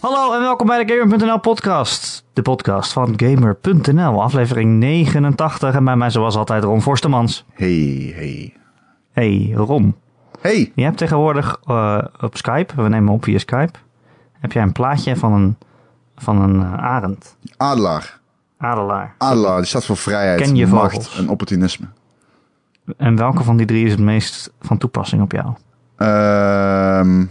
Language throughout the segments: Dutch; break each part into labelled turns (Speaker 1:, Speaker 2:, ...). Speaker 1: Hallo en welkom bij de Gamer.nl podcast. De podcast van Gamer.nl, aflevering 89. En bij mij zoals altijd Ron Forstemans.
Speaker 2: Hey, hey.
Speaker 1: Hey Ron,
Speaker 2: Hey!
Speaker 1: je hebt tegenwoordig eh, op Skype, we nemen op via Skype, heb jij een plaatje van een, van een eh, arend,
Speaker 2: Adelaar.
Speaker 1: adelaar.
Speaker 2: Adelaar, die staat voor vrijheid,
Speaker 1: Ken je
Speaker 2: macht
Speaker 1: vogels?
Speaker 2: en opportunisme.
Speaker 1: En welke van die drie is het meest van toepassing op jou?
Speaker 2: Ehm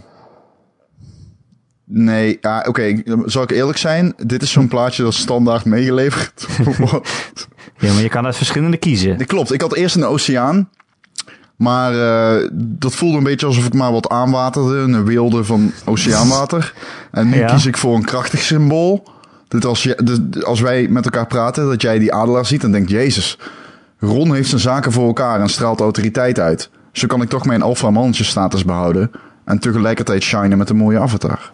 Speaker 2: nee, ah, oké, zal ik eerlijk zijn? Dit is zo'n plaatje dat standaard meegeleverd wordt.
Speaker 1: Ja, maar je kan uit verschillende kiezen.
Speaker 2: Dat klopt, ik had eerst een oceaan. Maar eh, dat voelde een beetje alsof ik maar wat aanwaterde. Een weelde van oceaanwater. En nu
Speaker 1: Ja.
Speaker 2: kies ik voor een krachtig symbool. Dit als, je, dit- als wij met elkaar praten, dat jij die adelaar ziet en denkt... Jezus, Ron heeft zijn zaken voor elkaar en straalt autoriteit uit. Zo kan ik toch mijn alpha mannetje status behouden. En tegelijkertijd shinen met een mooie avatar.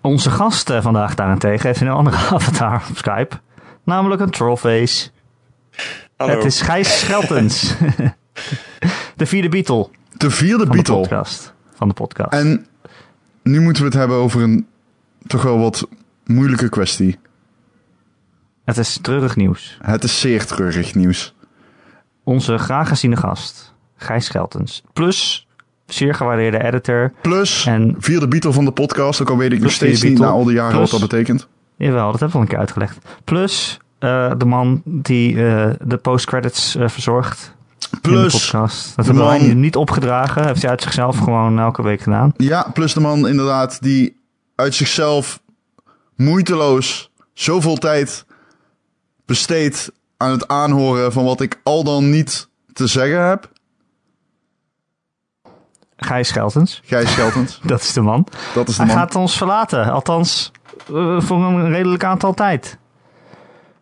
Speaker 1: Onze gast eh, vandaag daarentegen heeft een andere avatar op Skype, namelijk een trollface.
Speaker 3: Hallo.
Speaker 1: Het is Gijs Scheltens. de vierde Beatle van
Speaker 2: De vierde
Speaker 1: de
Speaker 2: Beatle.
Speaker 1: podcast. Van de podcast.
Speaker 2: En nu moeten we het hebben over een toch wel wat moeilijke kwestie.
Speaker 1: Het is treurig nieuws.
Speaker 2: Het is zeer treurig nieuws.
Speaker 1: Onze graag geziene gast, Gijs Scheltens. Plus, zeer gewaardeerde editor.
Speaker 2: Plus,
Speaker 1: En-
Speaker 2: vierde Beatle van de podcast. Ook al weet ik nog
Speaker 1: Plus
Speaker 2: steeds
Speaker 1: vierde
Speaker 2: niet na
Speaker 1: Beatle.
Speaker 2: al die jaren
Speaker 1: Plus-
Speaker 2: wat dat betekent.
Speaker 1: Jawel, dat hebben we al een keer uitgelegd. Plus, eh, de man die eh, de postcredits eh, verzorgt in de
Speaker 2: Plus,
Speaker 1: podcast. Dat
Speaker 2: de
Speaker 1: hebben wij
Speaker 2: man-
Speaker 1: hem niet opgedragen. Heeft hij uit zichzelf gewoon elke week gedaan.
Speaker 2: ja, plus de man inderdaad die uit zichzelf moeiteloos zoveel tijd besteedt aan het aanhoren van wat ik al dan niet te zeggen heb.
Speaker 1: Gijs Scheltens,
Speaker 2: Gijs Scheltens,
Speaker 1: dat is de man.
Speaker 2: dat is de
Speaker 1: Hij
Speaker 2: man.
Speaker 1: gaat ons verlaten. Althans, eh, voor een redelijk aantal tijd.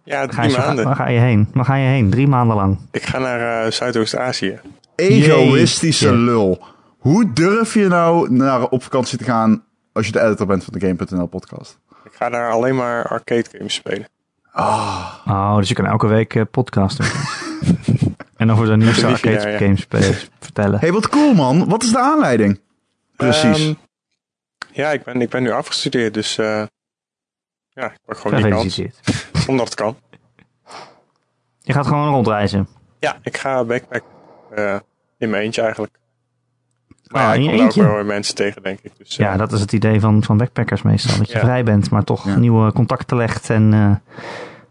Speaker 3: Ja, drie
Speaker 1: Gijs, waar ga,
Speaker 3: maanden.
Speaker 1: waar ga je heen? Waar ga je heen? Drie maanden lang.
Speaker 3: Ik ga naar eh, Zuidoost-Azië.
Speaker 2: Egoïstische
Speaker 1: Jeetje.
Speaker 2: lul. Hoe durf je nou naar op vakantie te gaan als je de editor bent van de Game.nl podcast?
Speaker 3: Ik ga daar alleen maar arcade games spelen.
Speaker 1: Oh, dus je kan elke week eh, podcast doen. en dan voor de nieuwste
Speaker 3: Dat is
Speaker 1: arcade
Speaker 3: ja, ja.
Speaker 1: games spelen, vertellen.
Speaker 2: Hé, hey, wat cool man. Wat is de aanleiding? Precies.
Speaker 3: Ehm, ja, ik ben, ik ben nu afgestudeerd, dus eh, ja, ik pak gewoon die kans.
Speaker 1: Gefeliciteerd.
Speaker 3: Omdat het kan.
Speaker 1: Je gaat gewoon rondreizen.
Speaker 3: Ja, ik ga backpack eh, in mijn eentje eigenlijk. Maar
Speaker 1: Ah, in je
Speaker 3: ja, ik kom daar ook
Speaker 1: eentje?
Speaker 3: wel weer mensen tegen, denk ik. Dus, eh,
Speaker 1: Ja, dat is het idee van, van backpackers meestal. Dat je
Speaker 3: Ja.
Speaker 1: vrij bent, maar toch
Speaker 2: Ja.
Speaker 1: nieuwe contacten legt en, eh,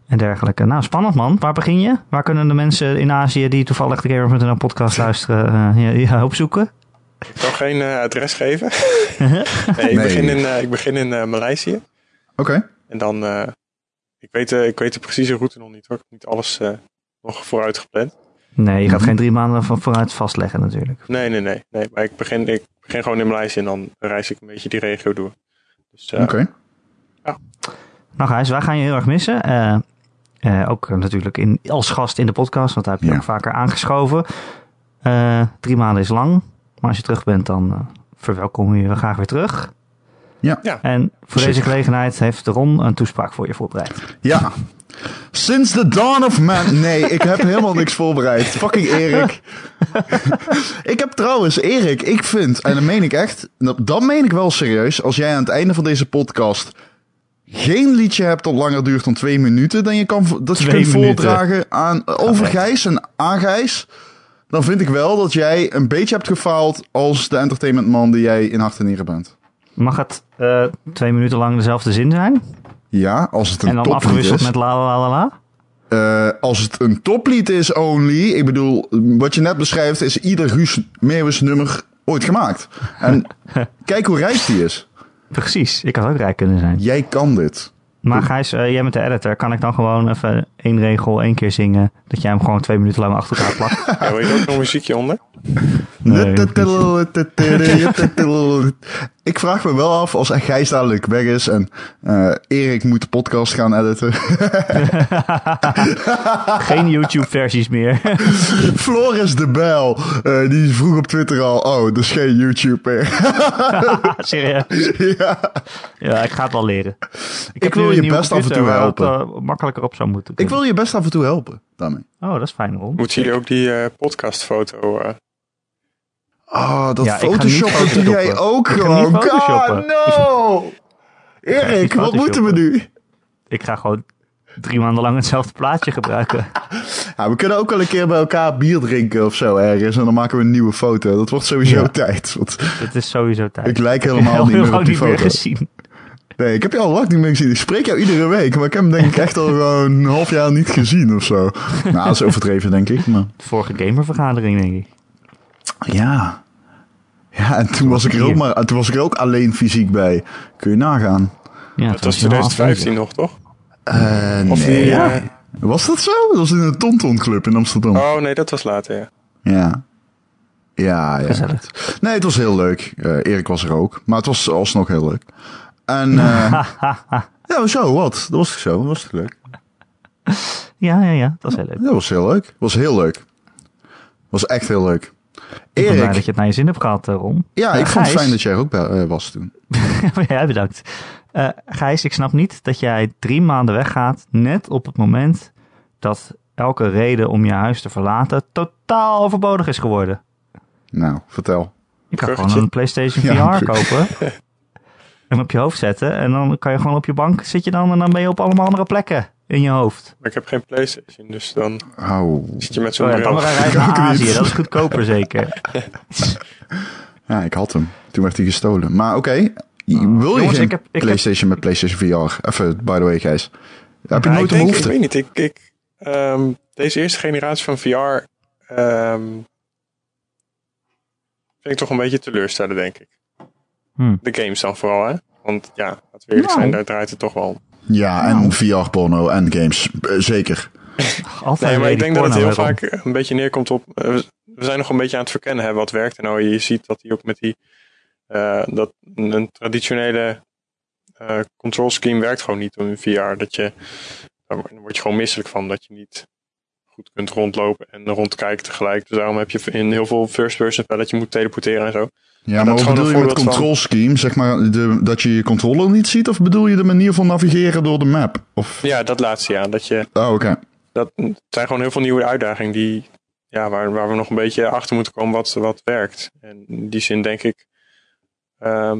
Speaker 1: en dergelijke. Nou, spannend man. Waar begin je? Waar kunnen de mensen in Azië die toevallig de Gamer.nl podcast luisteren eh, je, je hulp zoeken?
Speaker 3: Ik kan geen eh, adres geven. nee, ik
Speaker 2: Nee.
Speaker 3: begin in, eh, ik begin in eh, Maleisië.
Speaker 2: Oké.
Speaker 3: En dan, eh, ik, weet, eh, ik weet de precieze route nog niet hoor. Ik heb niet alles eh, nog vooruit gepland.
Speaker 1: Nee, je gaat
Speaker 2: Mhm.
Speaker 1: geen drie maanden van vooruit vastleggen natuurlijk.
Speaker 3: Nee, nee, nee. nee. Maar ik begin, ik begin gewoon in Maleisië en dan reis ik een beetje die regio door. Dus eh,
Speaker 2: Oké.
Speaker 1: Nou Gijs, wij gaan je heel erg missen. Eh, eh, ook eh, natuurlijk in, als gast in de podcast, want daar heb je
Speaker 2: Ja.
Speaker 1: ook vaker aangeschoven. Eh, drie maanden is lang, maar als je terug bent, dan eh, verwelkomen we je graag weer terug.
Speaker 2: Ja.
Speaker 3: Ja.
Speaker 1: En voor
Speaker 2: Zeker.
Speaker 1: deze gelegenheid heeft Ron een toespraak voor je voorbereid.
Speaker 2: Ja. Sinds the dawn of man. Nee, ik heb helemaal niks voorbereid. Fucking Erik. ik heb trouwens, Erik, ik vind, en dat meen ik echt, dat, dat meen ik wel serieus, als jij aan het einde van deze podcast geen liedje hebt dat langer duurt dan twee minuten, dan je kan, vo- dat je
Speaker 1: Twee
Speaker 2: kunt
Speaker 1: minuten.
Speaker 2: voordragen aan, over Gijs en aan Gijs, dan vind ik wel dat jij een beetje hebt gefaald als de entertainmentman die jij in hart en nieren bent.
Speaker 1: Mag het eh, twee minuten lang dezelfde zin zijn?
Speaker 2: Ja, als het een
Speaker 1: En dan
Speaker 2: toplied
Speaker 1: afgewisseld
Speaker 2: is.
Speaker 1: met la la la la la?
Speaker 2: Eh, als het een toplied is only, ik bedoel, wat je net beschrijft is ieder Guus Meeuwis nummer ooit gemaakt. En kijk hoe rijk die is.
Speaker 1: Precies, ik had ook rijk kunnen zijn.
Speaker 2: Jij kan dit.
Speaker 1: Maar Gijs, eh, jij bent de editor. Kan ik dan gewoon even één regel één keer zingen? Dat jij hem gewoon twee minuten lang achter elkaar plakt?
Speaker 3: ja, wil je er ook nog muziekje onder?
Speaker 1: Nee,
Speaker 2: Ik vraag me wel af, als Gijs dadelijk weg is en eh, Erik moet de podcast gaan editen.
Speaker 1: Geen YouTube-versies meer.
Speaker 2: Floris de Bijl, eh, die vroeg op Twitter al, oh, dus geen YouTube meer.
Speaker 1: Serieus.
Speaker 2: ja.
Speaker 1: Ja, ik ga het wel leren. Ik, heb
Speaker 2: wil
Speaker 1: nu een
Speaker 2: je
Speaker 1: nieuwe
Speaker 2: best af en toe
Speaker 1: computer waar het,
Speaker 2: helpen.
Speaker 1: eh, makkelijker op zou moeten.
Speaker 2: Ik
Speaker 1: kunnen.
Speaker 2: wil je best af en toe helpen daarmee.
Speaker 1: Oh, dat is fijn, Ron.
Speaker 3: Moeten jullie ook die eh, podcastfoto... eh,
Speaker 2: Ah, dat
Speaker 1: Ja, ik ga niet
Speaker 2: Photoshop Oh, dat doe
Speaker 1: photoshoppen.
Speaker 2: jij ook
Speaker 1: Ik ga
Speaker 2: gewoon.
Speaker 1: niet photoshoppen.
Speaker 2: God, no! Erik, wat
Speaker 1: Photoshop.
Speaker 2: moeten we nu?
Speaker 1: Ik ga gewoon drie maanden lang hetzelfde plaatje gebruiken.
Speaker 2: Ja, we kunnen ook wel een keer bij elkaar bier drinken of zo ergens. En dan maken we een nieuwe foto. Dat wordt sowieso
Speaker 1: Ja.
Speaker 2: tijd. Want
Speaker 1: Dat is sowieso tijd.
Speaker 2: ik lijk
Speaker 1: heb je
Speaker 2: helemaal
Speaker 1: al
Speaker 2: niet
Speaker 1: heel
Speaker 2: meer
Speaker 1: lang
Speaker 2: op die
Speaker 1: niet meer
Speaker 2: foto.
Speaker 1: gezien.
Speaker 2: Nee, ik heb je al lang niet meer gezien. Ik spreek jou iedere week. Maar ik heb hem denk ik echt al gewoon een half jaar niet gezien of zo. Nou, dat is overdreven denk ik. Maar
Speaker 1: Vorige gamervergadering, denk ik.
Speaker 2: ja. Ja, en toen was ik er ook, maar, en toen was ik er ook alleen fysiek bij. Kun je nagaan.
Speaker 1: Ja,
Speaker 3: Dat was
Speaker 1: heel
Speaker 3: 2015
Speaker 1: afwezig.
Speaker 3: nog, toch?
Speaker 2: Eh, nee.
Speaker 3: Of die,
Speaker 1: Ja.
Speaker 3: eh,
Speaker 2: Was dat zo? Dat was in een Tonton Club in Amsterdam.
Speaker 3: oh nee, dat was later, ja.
Speaker 2: Ja. Ja, ja.
Speaker 1: Gezellig.
Speaker 2: Nee, het was heel leuk. Eh, Erik was er ook. Maar het was alsnog heel leuk. En eh, ja, zo, wat? Dat was toch zo? Dat was toch leuk?
Speaker 1: Ja, ja, ja. Dat is heel leuk.
Speaker 2: Dat was heel leuk. was heel leuk. was echt heel leuk.
Speaker 1: Ik ben blij dat
Speaker 2: Erik,
Speaker 1: je het naar je zin hebt gehad, eh, Ron.
Speaker 2: ja,
Speaker 1: Eh,
Speaker 2: ik vond het
Speaker 1: Gijs.
Speaker 2: fijn dat jij er ook bij eh, was toen.
Speaker 1: ja, bedankt. Eh, Gijs, ik snap niet dat jij drie maanden weggaat net op het moment dat elke reden om je huis te verlaten totaal overbodig is geworden.
Speaker 2: Nou, vertel.
Speaker 1: Je kan
Speaker 3: Bruggetje.
Speaker 1: gewoon een PlayStation VR
Speaker 2: Ja,
Speaker 1: kopen, hem op je hoofd zetten en dan kan je gewoon op je bank zit je dan en dan ben je op allemaal andere plekken in je hoofd.
Speaker 3: Maar ik heb geen Playstation, dus dan
Speaker 2: Oh.
Speaker 3: zit je met zo'n
Speaker 1: Zo ja, dan
Speaker 3: bril.
Speaker 1: maar een reis
Speaker 2: Ook
Speaker 1: naar
Speaker 2: niet.
Speaker 1: Azië, dat is goedkoper zeker.
Speaker 2: Ja, ik had hem. Toen werd hij gestolen. Maar oké, wil je
Speaker 1: Oh. Jongens,
Speaker 2: geen
Speaker 1: ik heb- ik heb-
Speaker 2: PlayStation met PlayStation VR? Even, by the way, Gijs. Heb je
Speaker 1: Ja,
Speaker 3: ik,
Speaker 2: nooit de
Speaker 3: denk, ik
Speaker 2: behoefte?
Speaker 3: weet niet, ik, ik, ehm, deze eerste generatie van VR ehm, vind ik toch een beetje teleurstellen, denk ik.
Speaker 1: Hm.
Speaker 3: De games dan vooral, hè? Want ja, laten we eerlijk
Speaker 1: Nou.
Speaker 3: zijn, daar draait het toch wel om.
Speaker 2: Ja, en
Speaker 3: Nou.
Speaker 2: VR-porno en games. Eh, zeker.
Speaker 1: Altijd
Speaker 3: Nee,
Speaker 1: weer
Speaker 3: maar ik
Speaker 1: die
Speaker 3: denk dat het
Speaker 1: porno
Speaker 3: heel
Speaker 1: erom.
Speaker 3: vaak een beetje neerkomt op. eh, we- we zijn nog een beetje aan het verkennen, hè, wat werkt er nou? Je ziet dat hij ook met die. eh, dat een een traditionele eh, control scheme werkt gewoon niet in VR. Dat je, daar word je gewoon misselijk van, dat je niet goed kunt rondlopen en rondkijken tegelijk. Dus daarom heb je in heel veel first-person spellen dat je moet teleporteren en zo.
Speaker 2: Ja, maar
Speaker 3: dat is
Speaker 2: wat
Speaker 3: gewoon
Speaker 2: bedoel je
Speaker 3: een
Speaker 2: met
Speaker 3: voorbeeld van-
Speaker 2: control scheme? Zeg maar de, dat je je controller niet ziet? Of bedoel je de manier van navigeren door de map? Of...
Speaker 3: Ja, dat laatste ja. Dat je,
Speaker 2: Oh, oké.
Speaker 3: dat het zijn gewoon heel veel nieuwe uitdagingen die, ja, waar, waar we nog een beetje achter moeten komen wat, wat werkt. En in die zin denk ik ehm,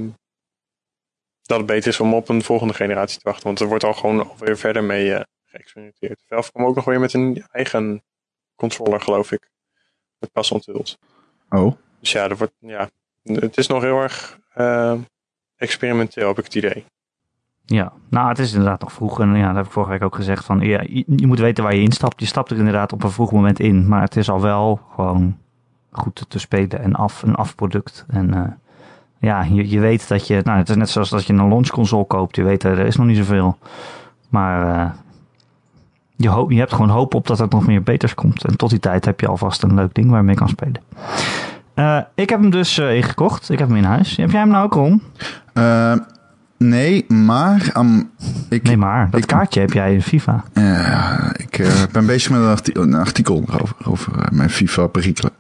Speaker 3: dat het beter is om op een volgende generatie te wachten. Want er wordt al gewoon alweer verder mee eh, geëxperimenteerd. Valve kwam ook nog weer met een eigen controller, geloof ik. Met pas onthuld.
Speaker 2: Oh,
Speaker 3: Dus ja, er wordt, ja, het is nog heel erg ehm, experimenteel, heb ik het idee.
Speaker 1: Ja, nou het is inderdaad nog vroeg. En ja, dat heb ik vorige week ook gezegd. Van, ja, je, je moet weten waar je instapt. Je stapt er inderdaad op een vroeg moment in. Maar het is al wel gewoon goed te- te spelen en af, een afproduct. En eh, ja, je, je weet dat je... Nou, het is net zoals dat je een launchconsole koopt. Je weet, eh, er is nog niet zoveel. Maar eh, je, ho- je hebt gewoon hoop op dat er nog meer beters komt. En tot die tijd heb je alvast een leuk ding waar je mee kan spelen. Eh, ik heb hem dus eh, ingekocht. Ik heb hem in huis. Heb jij hem nou ook, Ron?
Speaker 2: Eh, nee, maar ehm, ik,
Speaker 1: Nee, maar dat
Speaker 2: ik-
Speaker 1: kaartje heb jij in FIFA.
Speaker 2: eh, ik eh, ben bezig met een, arti- een artikel over, over eh, mijn FIFA perikelen.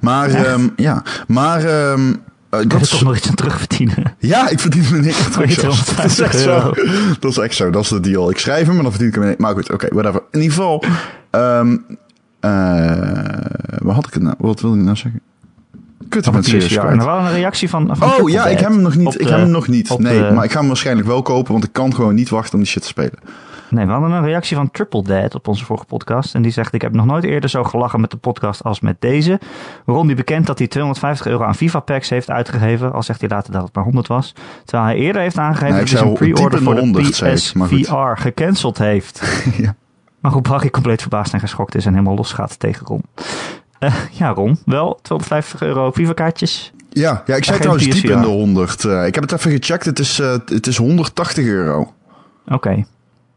Speaker 2: Maar ehm, ja, maar ehm, eh,
Speaker 1: Dat
Speaker 2: dat
Speaker 1: is toch
Speaker 2: is,
Speaker 1: nog iets aan terugverdienen.
Speaker 2: ja, ik verdien me niks.
Speaker 1: Voor je
Speaker 2: Dat is echt
Speaker 1: 250
Speaker 2: zo.
Speaker 1: euro.
Speaker 2: Dat is echt zo. Dat is de deal. Ik schrijf hem, maar dan verdien ik hem niet. Maar goed, oké, whatever. In ieder geval, ehm eh, waar had ik het nou? Wat wilde ik nou zeggen? Kut, ik ben het serieus
Speaker 1: Ja,
Speaker 2: kwijt.
Speaker 1: maar wel een reactie van. van
Speaker 2: Oh
Speaker 1: Triple
Speaker 2: ja, ik
Speaker 1: Dead.
Speaker 2: heb hem nog
Speaker 1: Op
Speaker 2: niet. Ik
Speaker 1: de-
Speaker 2: heb hem nog niet.
Speaker 1: op
Speaker 2: Nee,
Speaker 1: de-
Speaker 2: maar ik ga hem waarschijnlijk wel kopen, want ik kan gewoon niet wachten om die shit te spelen.
Speaker 1: Nee, we hadden een reactie van Triple Dead op onze vorige podcast. En die zegt: Ik heb nog nooit eerder zo gelachen met de podcast als met deze. Waarom die bekend dat hij 250 euro aan FIFA packs heeft uitgegeven. Al zegt hij later dat het maar 100 was. Terwijl hij eerder heeft aangegeven
Speaker 2: Nee, ik
Speaker 1: dat hij zijn
Speaker 2: zei al
Speaker 1: pre-order
Speaker 2: diep in
Speaker 1: voor
Speaker 2: de
Speaker 1: de
Speaker 2: 100 zei ik, maar goed.
Speaker 1: PSVR gecanceld heeft.
Speaker 2: Ja.
Speaker 1: Maar hoe Barry compleet verbaasd en geschokt is en helemaal losgaat tegen Ron. Eh, ja, Ron, wel 250 euro FIFA-kaartjes.
Speaker 2: Ja, ja ik
Speaker 1: Geen
Speaker 2: zei trouwens diep
Speaker 1: PSVR.
Speaker 2: in de 100. Eh, ik heb het even gecheckt. Het is, eh, het is 180 euro.
Speaker 1: Oké.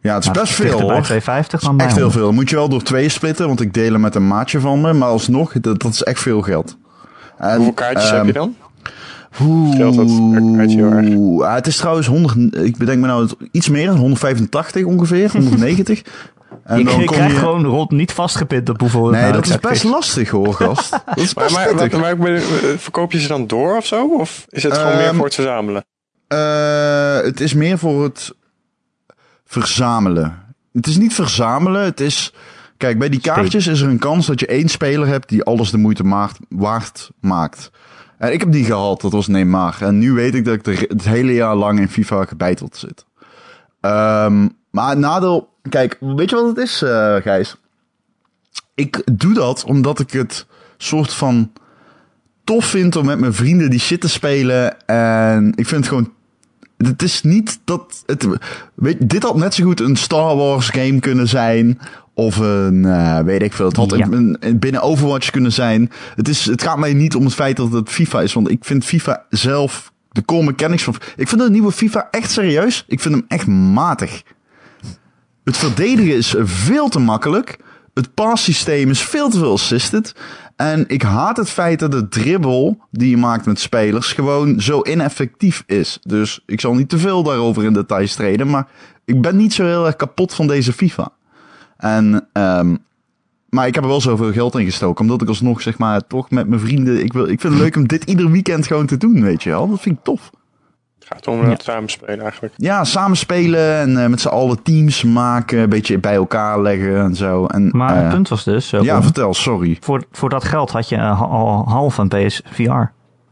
Speaker 2: Ja, het is
Speaker 1: Nou,
Speaker 2: best
Speaker 1: dichter
Speaker 2: veel
Speaker 1: bij
Speaker 2: hoor.
Speaker 1: 250 dan bij
Speaker 2: Echt heel
Speaker 1: 100.
Speaker 2: veel. Moet je wel door twee splitten, want ik deel hem met een maatje van me. Maar alsnog, dat, dat is echt veel geld. En,
Speaker 3: Hoeveel kaartjes heb
Speaker 2: ehm,
Speaker 3: je dan? Scheelt dat per kaartje heel erg?
Speaker 2: Oeh, ah, het is trouwens 100, ik bedenk me nou het- iets meer, 185 ongeveer, 190. En
Speaker 1: Je, je
Speaker 2: kom
Speaker 1: krijgt gewoon rond niet vastgepind op hoeveel het
Speaker 2: Nee,
Speaker 1: nou
Speaker 2: dat is
Speaker 1: exact
Speaker 2: best lastig hoor, gast. Dat is
Speaker 3: Maar,
Speaker 2: best
Speaker 3: maar,
Speaker 2: pittig.
Speaker 3: wat- maar ik bedoel, eh, verkoop je ze dan door of zo? Of is het gewoon meer
Speaker 2: Ehm,
Speaker 3: voor het verzamelen?
Speaker 2: Eh, het is meer voor het verzamelen. Het is niet verzamelen, het is... Kijk, bij die kaartjes is er een kans dat je één speler hebt die alles de moeite maart- waard maakt. En ik heb die gehad, dat was Neymar. En nu weet ik dat ik er het hele jaar lang in FIFA gebeiteld zit. Ehm, maar het nadeel, kijk, weet je wat het is, eh, Gijs? Ik doe dat omdat ik het soort van tof vind om met mijn vrienden die shit te spelen. En ik vind het gewoon. Het is niet dat. Het, weet, je, dit had net zo goed een Star Wars game kunnen zijn. Of een, eh, weet ik veel. Het had
Speaker 1: Ja.
Speaker 2: een, een- binnen Overwatch kunnen zijn. Het, is, het gaat mij niet om het feit dat het FIFA is. Want ik vind FIFA zelf, de core mechanics van... Ik vind de nieuwe FIFA echt serieus. Ik vind hem echt matig. Het verdedigen is veel te makkelijk. Het passysteem is veel te veel assisted. En ik haat het feit dat de dribbel die je maakt met spelers gewoon zo ineffectief is. Dus ik zal niet te veel daarover in details treden. Maar ik ben niet zo heel erg kapot van deze FIFA. En, ehm, maar ik heb er wel zoveel geld in gestoken. Omdat ik alsnog, zeg maar, toch met mijn vrienden. Ik, wil, ik vind het leuk om dit ieder weekend gewoon te doen, weet je wel. Dat vind ik tof.
Speaker 3: Het gaat om het samenspelen eigenlijk.
Speaker 2: Ja, samen spelen en eh, met z'n allen teams maken. Een beetje bij elkaar leggen en zo. En,
Speaker 1: Maar
Speaker 2: eh,
Speaker 1: het punt was dus, eh,
Speaker 2: Ja,
Speaker 1: om-
Speaker 2: vertel, sorry.
Speaker 1: voor, voor dat geld had je eh, ha- al half een PSVR.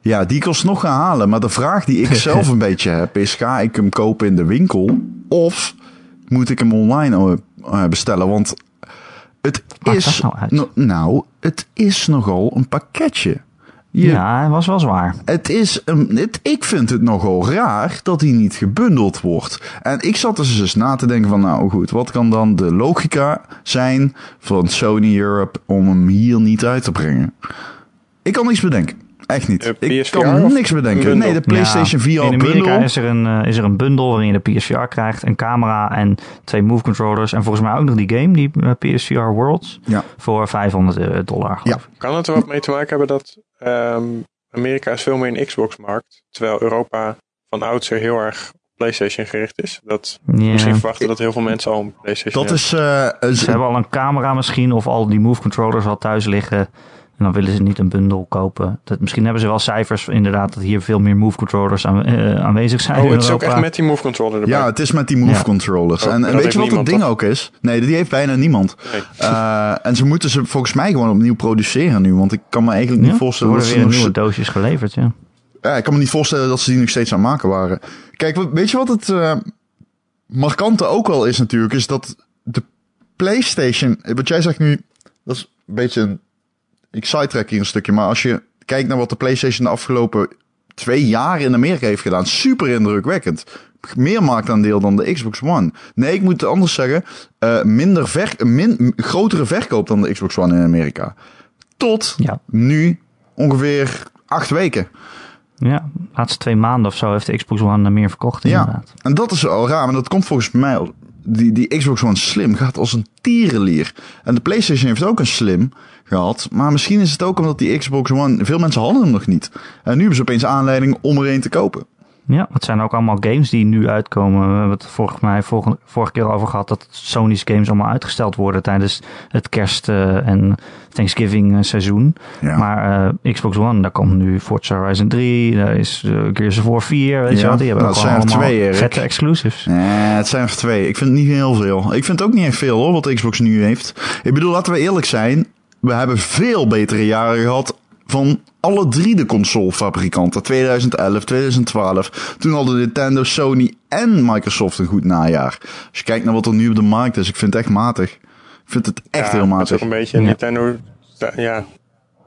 Speaker 2: Ja, die ik alsnog ga halen. Maar de vraag die ik zelf een beetje heb is... ga ik hem kopen in de winkel? Of moet ik hem online eh, eh, bestellen? Want het
Speaker 1: Maakt
Speaker 2: is...
Speaker 1: dat nou uit?
Speaker 2: no- nou, het is nogal een pakketje. Je,
Speaker 1: Ja, dat was wel zwaar.
Speaker 2: Het is een, het, ik vind het nogal raar dat die niet gebundeld wordt. En ik zat dus eens na te denken van, nou goed, wat kan dan de logica zijn van Sony Europe om hem hier niet uit te brengen? Ik kan niks bedenken. Echt niet.
Speaker 3: De
Speaker 2: ik
Speaker 3: PSVR
Speaker 2: kan
Speaker 3: of
Speaker 2: niks bedenken.
Speaker 3: bundel?
Speaker 2: Nee, de PlayStation
Speaker 1: Ja,
Speaker 2: VR
Speaker 1: In Amerika
Speaker 2: bundel.
Speaker 1: is er, een, eh, is er een bundel waarin je de PSVR krijgt, een camera en twee move controllers. En volgens mij ook nog die game, die eh, PSVR Worlds,
Speaker 2: Ja.
Speaker 1: voor 500 dollar. geloof ik.
Speaker 3: Kan het er wat mee te maken hebben dat ehm, Amerika is veel meer een Xbox-markt, terwijl Europa van oudsher heel erg op PlayStation gericht is? Dat
Speaker 1: Ja.
Speaker 3: misschien verwachten dat heel veel mensen al een PlayStation
Speaker 2: Dat is, eh, is-
Speaker 1: Ze hebben al een camera misschien, of al die move controllers al thuis liggen. En dan willen ze niet een bundel kopen. Dat, misschien hebben ze wel cijfers, inderdaad, dat hier veel meer move controllers aan- eh, aanwezig zijn.
Speaker 3: Oh,
Speaker 1: in
Speaker 3: het is ook
Speaker 1: Europa.
Speaker 3: echt met die move controller erbij.
Speaker 2: ja, het is met die move
Speaker 1: Ja.
Speaker 2: controllers.
Speaker 3: Oh,
Speaker 2: en
Speaker 3: dat
Speaker 2: en weet
Speaker 3: heeft
Speaker 2: je wat het
Speaker 3: niemand,
Speaker 2: ding
Speaker 3: toch?
Speaker 2: ook is? Nee, die heeft bijna niemand.
Speaker 3: Nee.
Speaker 2: Eh, en ze moeten ze volgens mij gewoon opnieuw produceren nu. Want ik kan me eigenlijk
Speaker 1: Ja?
Speaker 2: niet
Speaker 1: Er
Speaker 2: voorstellen dat
Speaker 1: worden
Speaker 2: ze
Speaker 1: weer
Speaker 2: nog
Speaker 1: nieuwe doosjes geleverd, ja.
Speaker 2: Ja, ik kan me niet voorstellen dat ze die nog steeds aan het maken waren. Kijk, wat- weet je wat het eh, markante ook wel is natuurlijk? Is dat de PlayStation... eh, Wat jij zegt nu, dat is een beetje een... Ik sidetrack hier een stukje, maar als je kijkt naar wat de PlayStation de afgelopen twee jaar in Amerika heeft gedaan. Super indrukwekkend. Meer marktaandeel dan de Xbox One. Nee, ik moet het anders zeggen. eh, minder ver, min, m- grotere verkoop dan de Xbox One in Amerika. Tot
Speaker 1: Ja.
Speaker 2: nu ongeveer acht weken.
Speaker 1: Ja, de laatste twee maanden of zo heeft de Xbox One er meer verkocht, inderdaad.
Speaker 2: En dat is al raar, maar dat komt volgens mij... al- Die, die Xbox One Slim gaat als een tierenlier. En de PlayStation heeft ook een Slim gehad. Maar misschien is het ook omdat die Xbox One... Veel mensen hadden hem nog niet. En nu hebben ze opeens aanleiding om er een te kopen.
Speaker 1: Ja, het zijn ook allemaal games die nu uitkomen. We hebben het volgens mij vorige, vorige keer over gehad dat Sony's games allemaal uitgesteld worden tijdens het kerst- eh, en Thanksgiving eh, seizoen.
Speaker 2: Ja.
Speaker 1: Maar eh, Xbox One, daar komt nu Forza Horizon 3, daar is eh, Gears of War 4, weet je
Speaker 2: Ja,
Speaker 1: wat. Die hebben
Speaker 2: dat
Speaker 1: ook
Speaker 2: zijn er
Speaker 1: allemaal
Speaker 2: twee, Erik.
Speaker 1: vette exclusives.
Speaker 2: Nee, Eh, het zijn er twee. Ik vind het niet heel veel. Ik vind het ook niet echt veel hoor, wat de Xbox nu heeft. Ik bedoel, laten we eerlijk zijn. We hebben veel betere jaren gehad van alle drie de consolefabrikanten. 2011, 2012. Toen hadden Nintendo, Sony en Microsoft een goed najaar. Als je kijkt naar wat er nu op de markt is, ik vind het echt matig. Ik vind het echt heel
Speaker 3: Het is
Speaker 2: matig.
Speaker 3: ook een beetje
Speaker 1: Ja.
Speaker 3: Nintendo. Ja,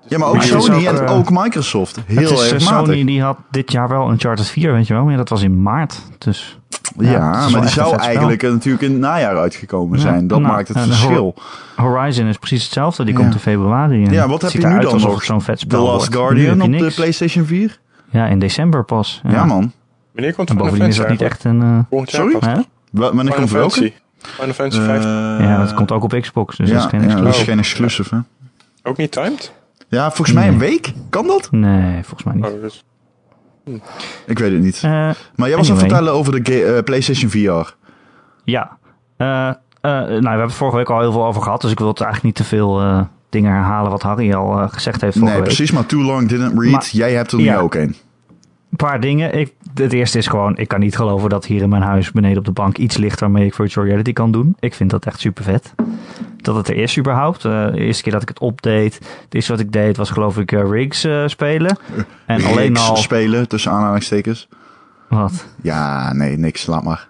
Speaker 2: Ja, maar ook
Speaker 1: Maar het is
Speaker 2: Sony
Speaker 1: ook,
Speaker 2: en
Speaker 1: eh,
Speaker 2: ook Microsoft.
Speaker 1: het
Speaker 2: Heel
Speaker 1: is, eh,
Speaker 2: erg matig.
Speaker 1: Sony die had dit jaar wel Uncharted 4, weet je wel. Maar ja, dat was in maart, dus...
Speaker 2: ja,
Speaker 1: het is wel
Speaker 2: maar die
Speaker 1: echt een
Speaker 2: zou
Speaker 1: vet spel.
Speaker 2: eigenlijk eh, natuurlijk in het najaar uitgekomen
Speaker 1: Ja,
Speaker 2: zijn. Dat
Speaker 1: nou,
Speaker 2: maakt het
Speaker 1: en de
Speaker 2: verschil.
Speaker 1: Horizon is precies hetzelfde, die
Speaker 2: Ja.
Speaker 1: komt in februari. en
Speaker 2: Ja, wat heb
Speaker 1: het ziet
Speaker 2: je nu
Speaker 1: eruit
Speaker 2: dan
Speaker 1: alsof
Speaker 2: nog?
Speaker 1: het zo'n vet
Speaker 2: The
Speaker 1: spel
Speaker 2: Last
Speaker 1: wordt. Nou, Nu heb
Speaker 2: Guardian
Speaker 1: je
Speaker 2: op de
Speaker 1: niks.
Speaker 2: PlayStation 4?
Speaker 1: Ja, in december pas.
Speaker 2: Ja, man.
Speaker 3: wanneer komt
Speaker 1: En
Speaker 3: er
Speaker 1: bovendien is dat niet echt een. eh,
Speaker 3: Volgend jaar
Speaker 2: Sorry?
Speaker 3: pas.
Speaker 1: hè?
Speaker 2: Wa- Wanneer
Speaker 3: Final
Speaker 2: komt welke?
Speaker 3: Fantasy. Final Fantasy 15.
Speaker 1: Eh, Ja, dat komt ook op Xbox, dus
Speaker 2: Eh, ja,
Speaker 1: dat is geen
Speaker 2: ja,
Speaker 1: exclusief.
Speaker 2: dat is
Speaker 3: exclusive.
Speaker 2: geen exclusive, hè?
Speaker 3: Ook niet timed?
Speaker 2: Ja, volgens mij een week. Kan dat?
Speaker 1: Nee, volgens mij niet.
Speaker 3: Oh, dus
Speaker 2: Ik weet het niet.
Speaker 1: Eh,
Speaker 2: Maar jij was aan het
Speaker 1: anyway.
Speaker 2: vertellen over de ga- eh, PlayStation VR.
Speaker 1: ja. Eh, eh, nou, we hebben het vorige week al heel veel over gehad, dus ik wil het eigenlijk niet te veel eh, dingen herhalen wat Harry al eh, gezegd heeft vorige
Speaker 2: Nee,
Speaker 1: week.
Speaker 2: precies, maar Too Long Didn't Read.
Speaker 1: Maar-
Speaker 2: jij hebt er nu
Speaker 1: Ja.
Speaker 2: ook een.
Speaker 1: Een paar dingen. Ik, het eerste is gewoon, ik kan niet geloven dat hier in mijn huis beneden op de bank iets ligt waarmee ik virtual reality kan doen. Ik vind dat echt super vet. dat het er is überhaupt. Eh, de eerste keer dat ik het opdeed, het eerste wat ik deed was geloof ik eh, Rigs eh, spelen. En alleen
Speaker 2: Rigs
Speaker 1: al...
Speaker 2: spelen, tussen aanhalingstekens.
Speaker 1: Wat?
Speaker 2: Ja, nee, niks, laat maar.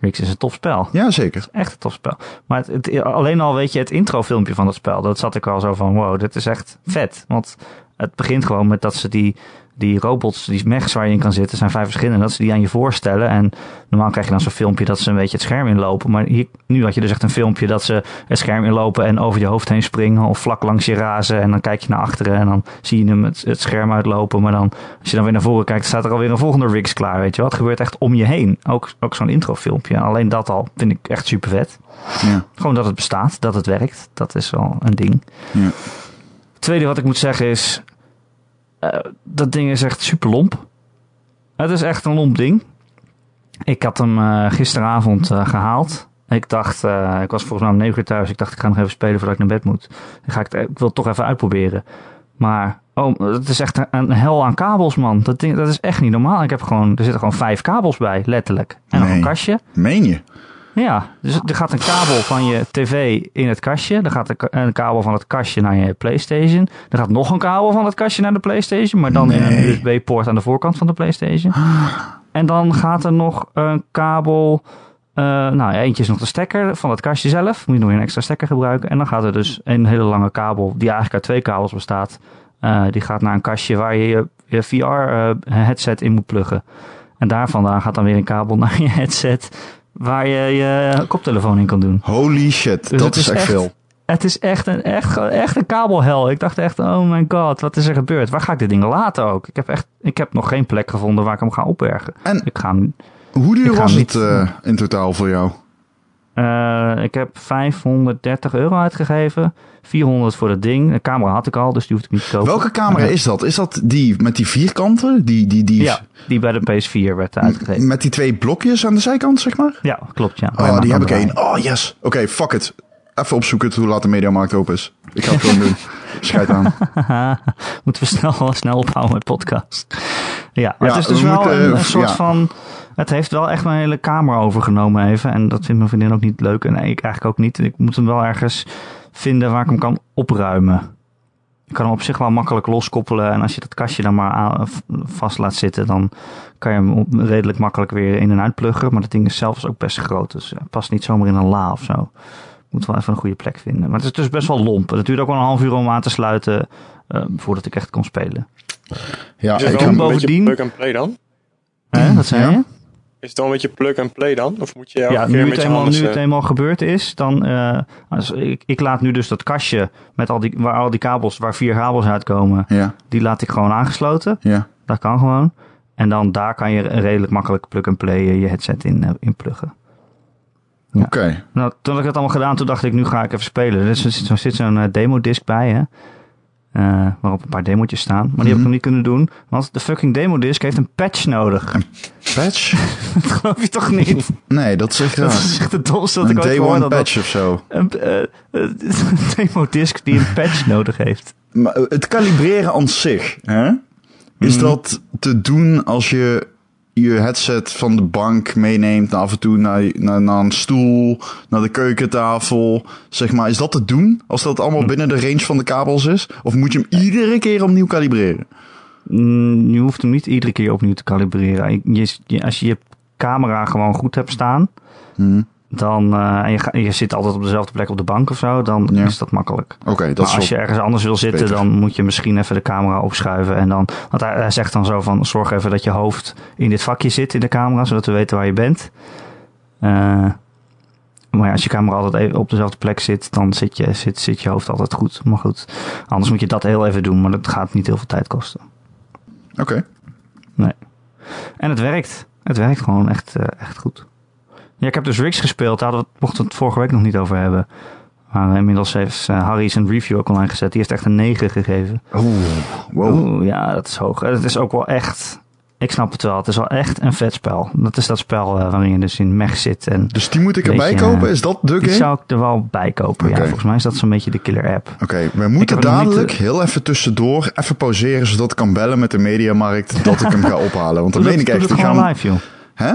Speaker 1: Rigs is een tof spel.
Speaker 2: Ja, zeker.
Speaker 1: Echt een tof spel. Maar het, het- alleen al weet je het introfilmpje van dat spel. Dat zat ik al zo van, wow, dit is echt vet. Want het begint gewoon met dat ze die, die robots, die mechs waar je in kan zitten, zijn vijf verschillende. Dat ze die aan je voorstellen. En normaal krijg je dan zo'n filmpje dat ze een beetje het scherm inlopen. Maar hier, nu had je dus echt een filmpje dat ze het scherm inlopen en over je hoofd heen springen. Of vlak langs je razen. En dan kijk je naar achteren en dan zie je hem het, het scherm uitlopen. Maar dan, als je dan weer naar voren kijkt, staat er alweer een volgende rigs klaar. Weet je wel, het gebeurt echt om je heen. Ook, ook zo'n introfilmpje. En Alleen dat al vind ik echt super vet.
Speaker 2: Ja.
Speaker 1: Gewoon dat het bestaat, dat het werkt. Dat is wel een ding.
Speaker 2: Ja.
Speaker 1: Het tweede wat ik moet zeggen is... eh, dat ding is echt super lomp. Het is echt een lomp ding. Ik had hem eh, gisteravond eh, gehaald. Ik dacht, eh, ik was volgens mij om 9 uur thuis. Ik dacht, ik ga nog even spelen voordat ik naar bed moet. Dan ga ik, het- eh, ik wil het toch even uitproberen. Maar, oh, het is echt een, een hel aan kabels, man. Dat, ding, dat is echt niet normaal. Ik heb gewoon, er zitten gewoon vijf kabels bij, letterlijk. En nog
Speaker 2: Nee.
Speaker 1: een kastje.
Speaker 2: Meen je?
Speaker 1: Ja, dus er gaat een kabel van je tv in het kastje. Dan gaat een ka- een kabel van het kastje naar je PlayStation. Dan gaat nog een kabel van het kastje naar de PlayStation. Maar dan in een
Speaker 2: Nee.
Speaker 1: USB-poort aan de voorkant van de PlayStation. En dan gaat er nog een kabel. eh, nou, eentje is nog de stekker van het kastje zelf. Moet je nog weer een extra stekker gebruiken. En dan gaat er dus een hele lange kabel, die eigenlijk uit twee kabels bestaat. eh, die gaat naar een kastje waar je je, VR-headset in moet pluggen. En daar vandaan gaat dan weer een kabel naar je headset. Waar je je koptelefoon in kan doen.
Speaker 2: Holy
Speaker 1: Dus
Speaker 2: shit, dat
Speaker 1: het
Speaker 2: is
Speaker 1: is
Speaker 2: echt,
Speaker 1: echt-
Speaker 2: veel.
Speaker 1: Het is echt een, echt, echt een kabelhel. Ik dacht echt, oh my god, wat is er gebeurd? Waar ga ik dit ding laten ook? Ik heb, echt, ik heb nog geen plek gevonden waar ik hem ga opbergen.
Speaker 2: En-
Speaker 1: ik, ga hem,
Speaker 2: Hoe
Speaker 1: Ik
Speaker 2: duur
Speaker 1: ga
Speaker 2: was
Speaker 1: hem
Speaker 2: het
Speaker 1: niet-
Speaker 2: eh, in totaal voor jou?
Speaker 1: eh, ik heb 530 euro uitgegeven. 400 voor dat ding. De camera had ik al, dus die hoefde ik niet te kopen.
Speaker 2: Welke camera
Speaker 1: Eh,
Speaker 2: is dat? Is dat die met die vierkanten? Die, die, die,
Speaker 1: Ja, die bij de PS4 werd uitgegeven.
Speaker 2: Met die twee blokjes aan de zijkant, zeg maar?
Speaker 1: Ja, klopt ja. Wij
Speaker 2: Oh,
Speaker 1: maken
Speaker 2: die heb ik
Speaker 1: hem
Speaker 2: één.
Speaker 1: erbij.
Speaker 2: Oh, yes. Oké, fuck it. Even opzoeken hoe laat de mediamarkt open is. Ik ga het gewoon doen. Schijt aan.
Speaker 1: Moeten we snel, snel ophouden met podcast. Ja, maar
Speaker 2: Ja,
Speaker 1: het is dus
Speaker 2: we
Speaker 1: wel
Speaker 2: moeten,
Speaker 1: een,
Speaker 2: eh,
Speaker 1: een soort
Speaker 2: ja.
Speaker 1: van... Het heeft wel echt mijn hele kamer overgenomen even. En dat vindt mijn vriendin ook niet leuk. En ik eigenlijk ook niet. Ik moet hem wel ergens vinden waar ik hem kan opruimen. Ik kan hem op zich wel makkelijk loskoppelen. En als je dat kastje dan maar aan- v- vast laat zitten... dan kan je hem op- redelijk makkelijk weer in en uit pluggen. Maar dat ding is zelfs ook best groot. Dus het past niet zomaar in een la of zo. Moet wel even een goede plek vinden. Maar het is dus best wel lomp. En het duurde ook wel een half uur om aan te sluiten... eh, voordat ik echt kon spelen.
Speaker 2: Ja,
Speaker 3: Is het
Speaker 2: ik
Speaker 3: wel
Speaker 2: ga
Speaker 3: een
Speaker 2: hem-
Speaker 1: bovendien-
Speaker 3: beetje plug and play dan?
Speaker 1: Hè, dat zei
Speaker 2: Ja.
Speaker 1: je?
Speaker 3: Is het dan een beetje plug and play dan? Of moet je elke
Speaker 1: Ja, nu
Speaker 3: keer met
Speaker 1: het,
Speaker 3: je
Speaker 1: eenmaal,
Speaker 3: handen...
Speaker 1: nu het
Speaker 3: eh,
Speaker 1: eenmaal gebeurd is, dan... eh, als, ik, ik laat nu dus dat kastje met al die, waar al die kabels, waar vier kabels uitkomen...
Speaker 2: Ja,
Speaker 1: die laat ik gewoon aangesloten.
Speaker 2: ja.
Speaker 1: Dat kan gewoon. En dan daar kan je redelijk makkelijk plug and play eh, je headset in, eh, in pluggen. Ja.
Speaker 2: Oké.
Speaker 1: Nou, toen had ik dat allemaal gedaan, toen dacht ik, nu ga ik even spelen. Er zit zo'n zit zo'n eh, demodisc bij, hè. eh, waarop een paar demotjes staan. Maar die heb ik
Speaker 2: Mhm.
Speaker 1: nog niet kunnen doen. Want de fucking demodisc heeft een patch nodig.
Speaker 2: Patch?
Speaker 1: Dat geloof je toch niet?
Speaker 2: Nee, dat is echt
Speaker 1: Dat
Speaker 2: raar.
Speaker 1: is echt het domste dat
Speaker 2: Een
Speaker 1: ik ooit
Speaker 2: day
Speaker 1: gehoord
Speaker 2: one
Speaker 1: had. dat-
Speaker 2: patch of zo.
Speaker 1: Een eh, eh, een demodisc die een patch nodig heeft.
Speaker 2: Maar eh, het kalibreren aan zich, hè? Is
Speaker 1: Mhm.
Speaker 2: dat te doen als je je headset van de bank meeneemt, af en toe naar, naar, naar een stoel, naar de keukentafel, zeg maar. Is dat te doen als dat allemaal
Speaker 1: Mhm.
Speaker 2: binnen de range van de kabels is? Of moet je hem iedere keer opnieuw kalibreren?
Speaker 1: Mm, je hoeft hem niet iedere keer opnieuw te kalibreren. Ik- Je, je- als je je camera gewoon goed hebt staan,
Speaker 2: Hm,
Speaker 1: dan, eh, en je, ga- je zit altijd op dezelfde plek op de bank of zo, dan
Speaker 2: Ja.
Speaker 1: is dat makkelijk.
Speaker 2: Oké, dat
Speaker 1: Maar
Speaker 2: is
Speaker 1: als
Speaker 2: wel-
Speaker 1: je ergens anders wil zitten,
Speaker 2: beter.
Speaker 1: dan moet je misschien even de camera opschuiven. En dan, want hij, hij zegt dan zo van, zorg even dat je hoofd in dit vakje zit in de camera, zodat we weten waar je bent. Eh, maar ja, als je camera altijd even op dezelfde plek zit, dan zit je, zit, zit je hoofd altijd goed. Maar goed, anders moet je dat heel even doen, maar dat gaat niet heel veel tijd kosten.
Speaker 2: Oké.
Speaker 1: En het werkt. Het werkt gewoon echt, eh, echt goed. Ja, ik heb dus Rigs gespeeld. Daar hadden we het- mochten we het vorige week nog niet over hebben. Maar eh, inmiddels heeft eh, Harry zijn review ook online gezet. Die heeft echt een 9 gegeven.
Speaker 2: Oeh, wow.
Speaker 1: Oeh, ja, dat is hoog. En Het is ook wel echt... Ik snap het wel. Het is wel echt een vet spel. Dat is dat spel eh, waarin je dus in mech zit. En
Speaker 2: Dus die moet ik erbij
Speaker 1: Beetje,
Speaker 2: kopen? Is dat de game?
Speaker 1: die zou ik er wel bij kopen. Ja,
Speaker 2: Oké.
Speaker 1: volgens mij is dat zo'n beetje de killer app.
Speaker 2: Oké, we
Speaker 1: Ik
Speaker 2: moeten
Speaker 1: heb hem nog niet,
Speaker 2: dadelijk
Speaker 1: eh,
Speaker 2: heel even tussendoor even pauzeren, zodat ik kan bellen met de mediamarkt dat ik hem ga ophalen. Want dat
Speaker 1: Doe
Speaker 2: meen
Speaker 1: dat, doe
Speaker 2: ik echt.
Speaker 1: dat
Speaker 2: Ik ga
Speaker 1: gewoon
Speaker 2: hem-
Speaker 1: live, joh.
Speaker 2: Hè?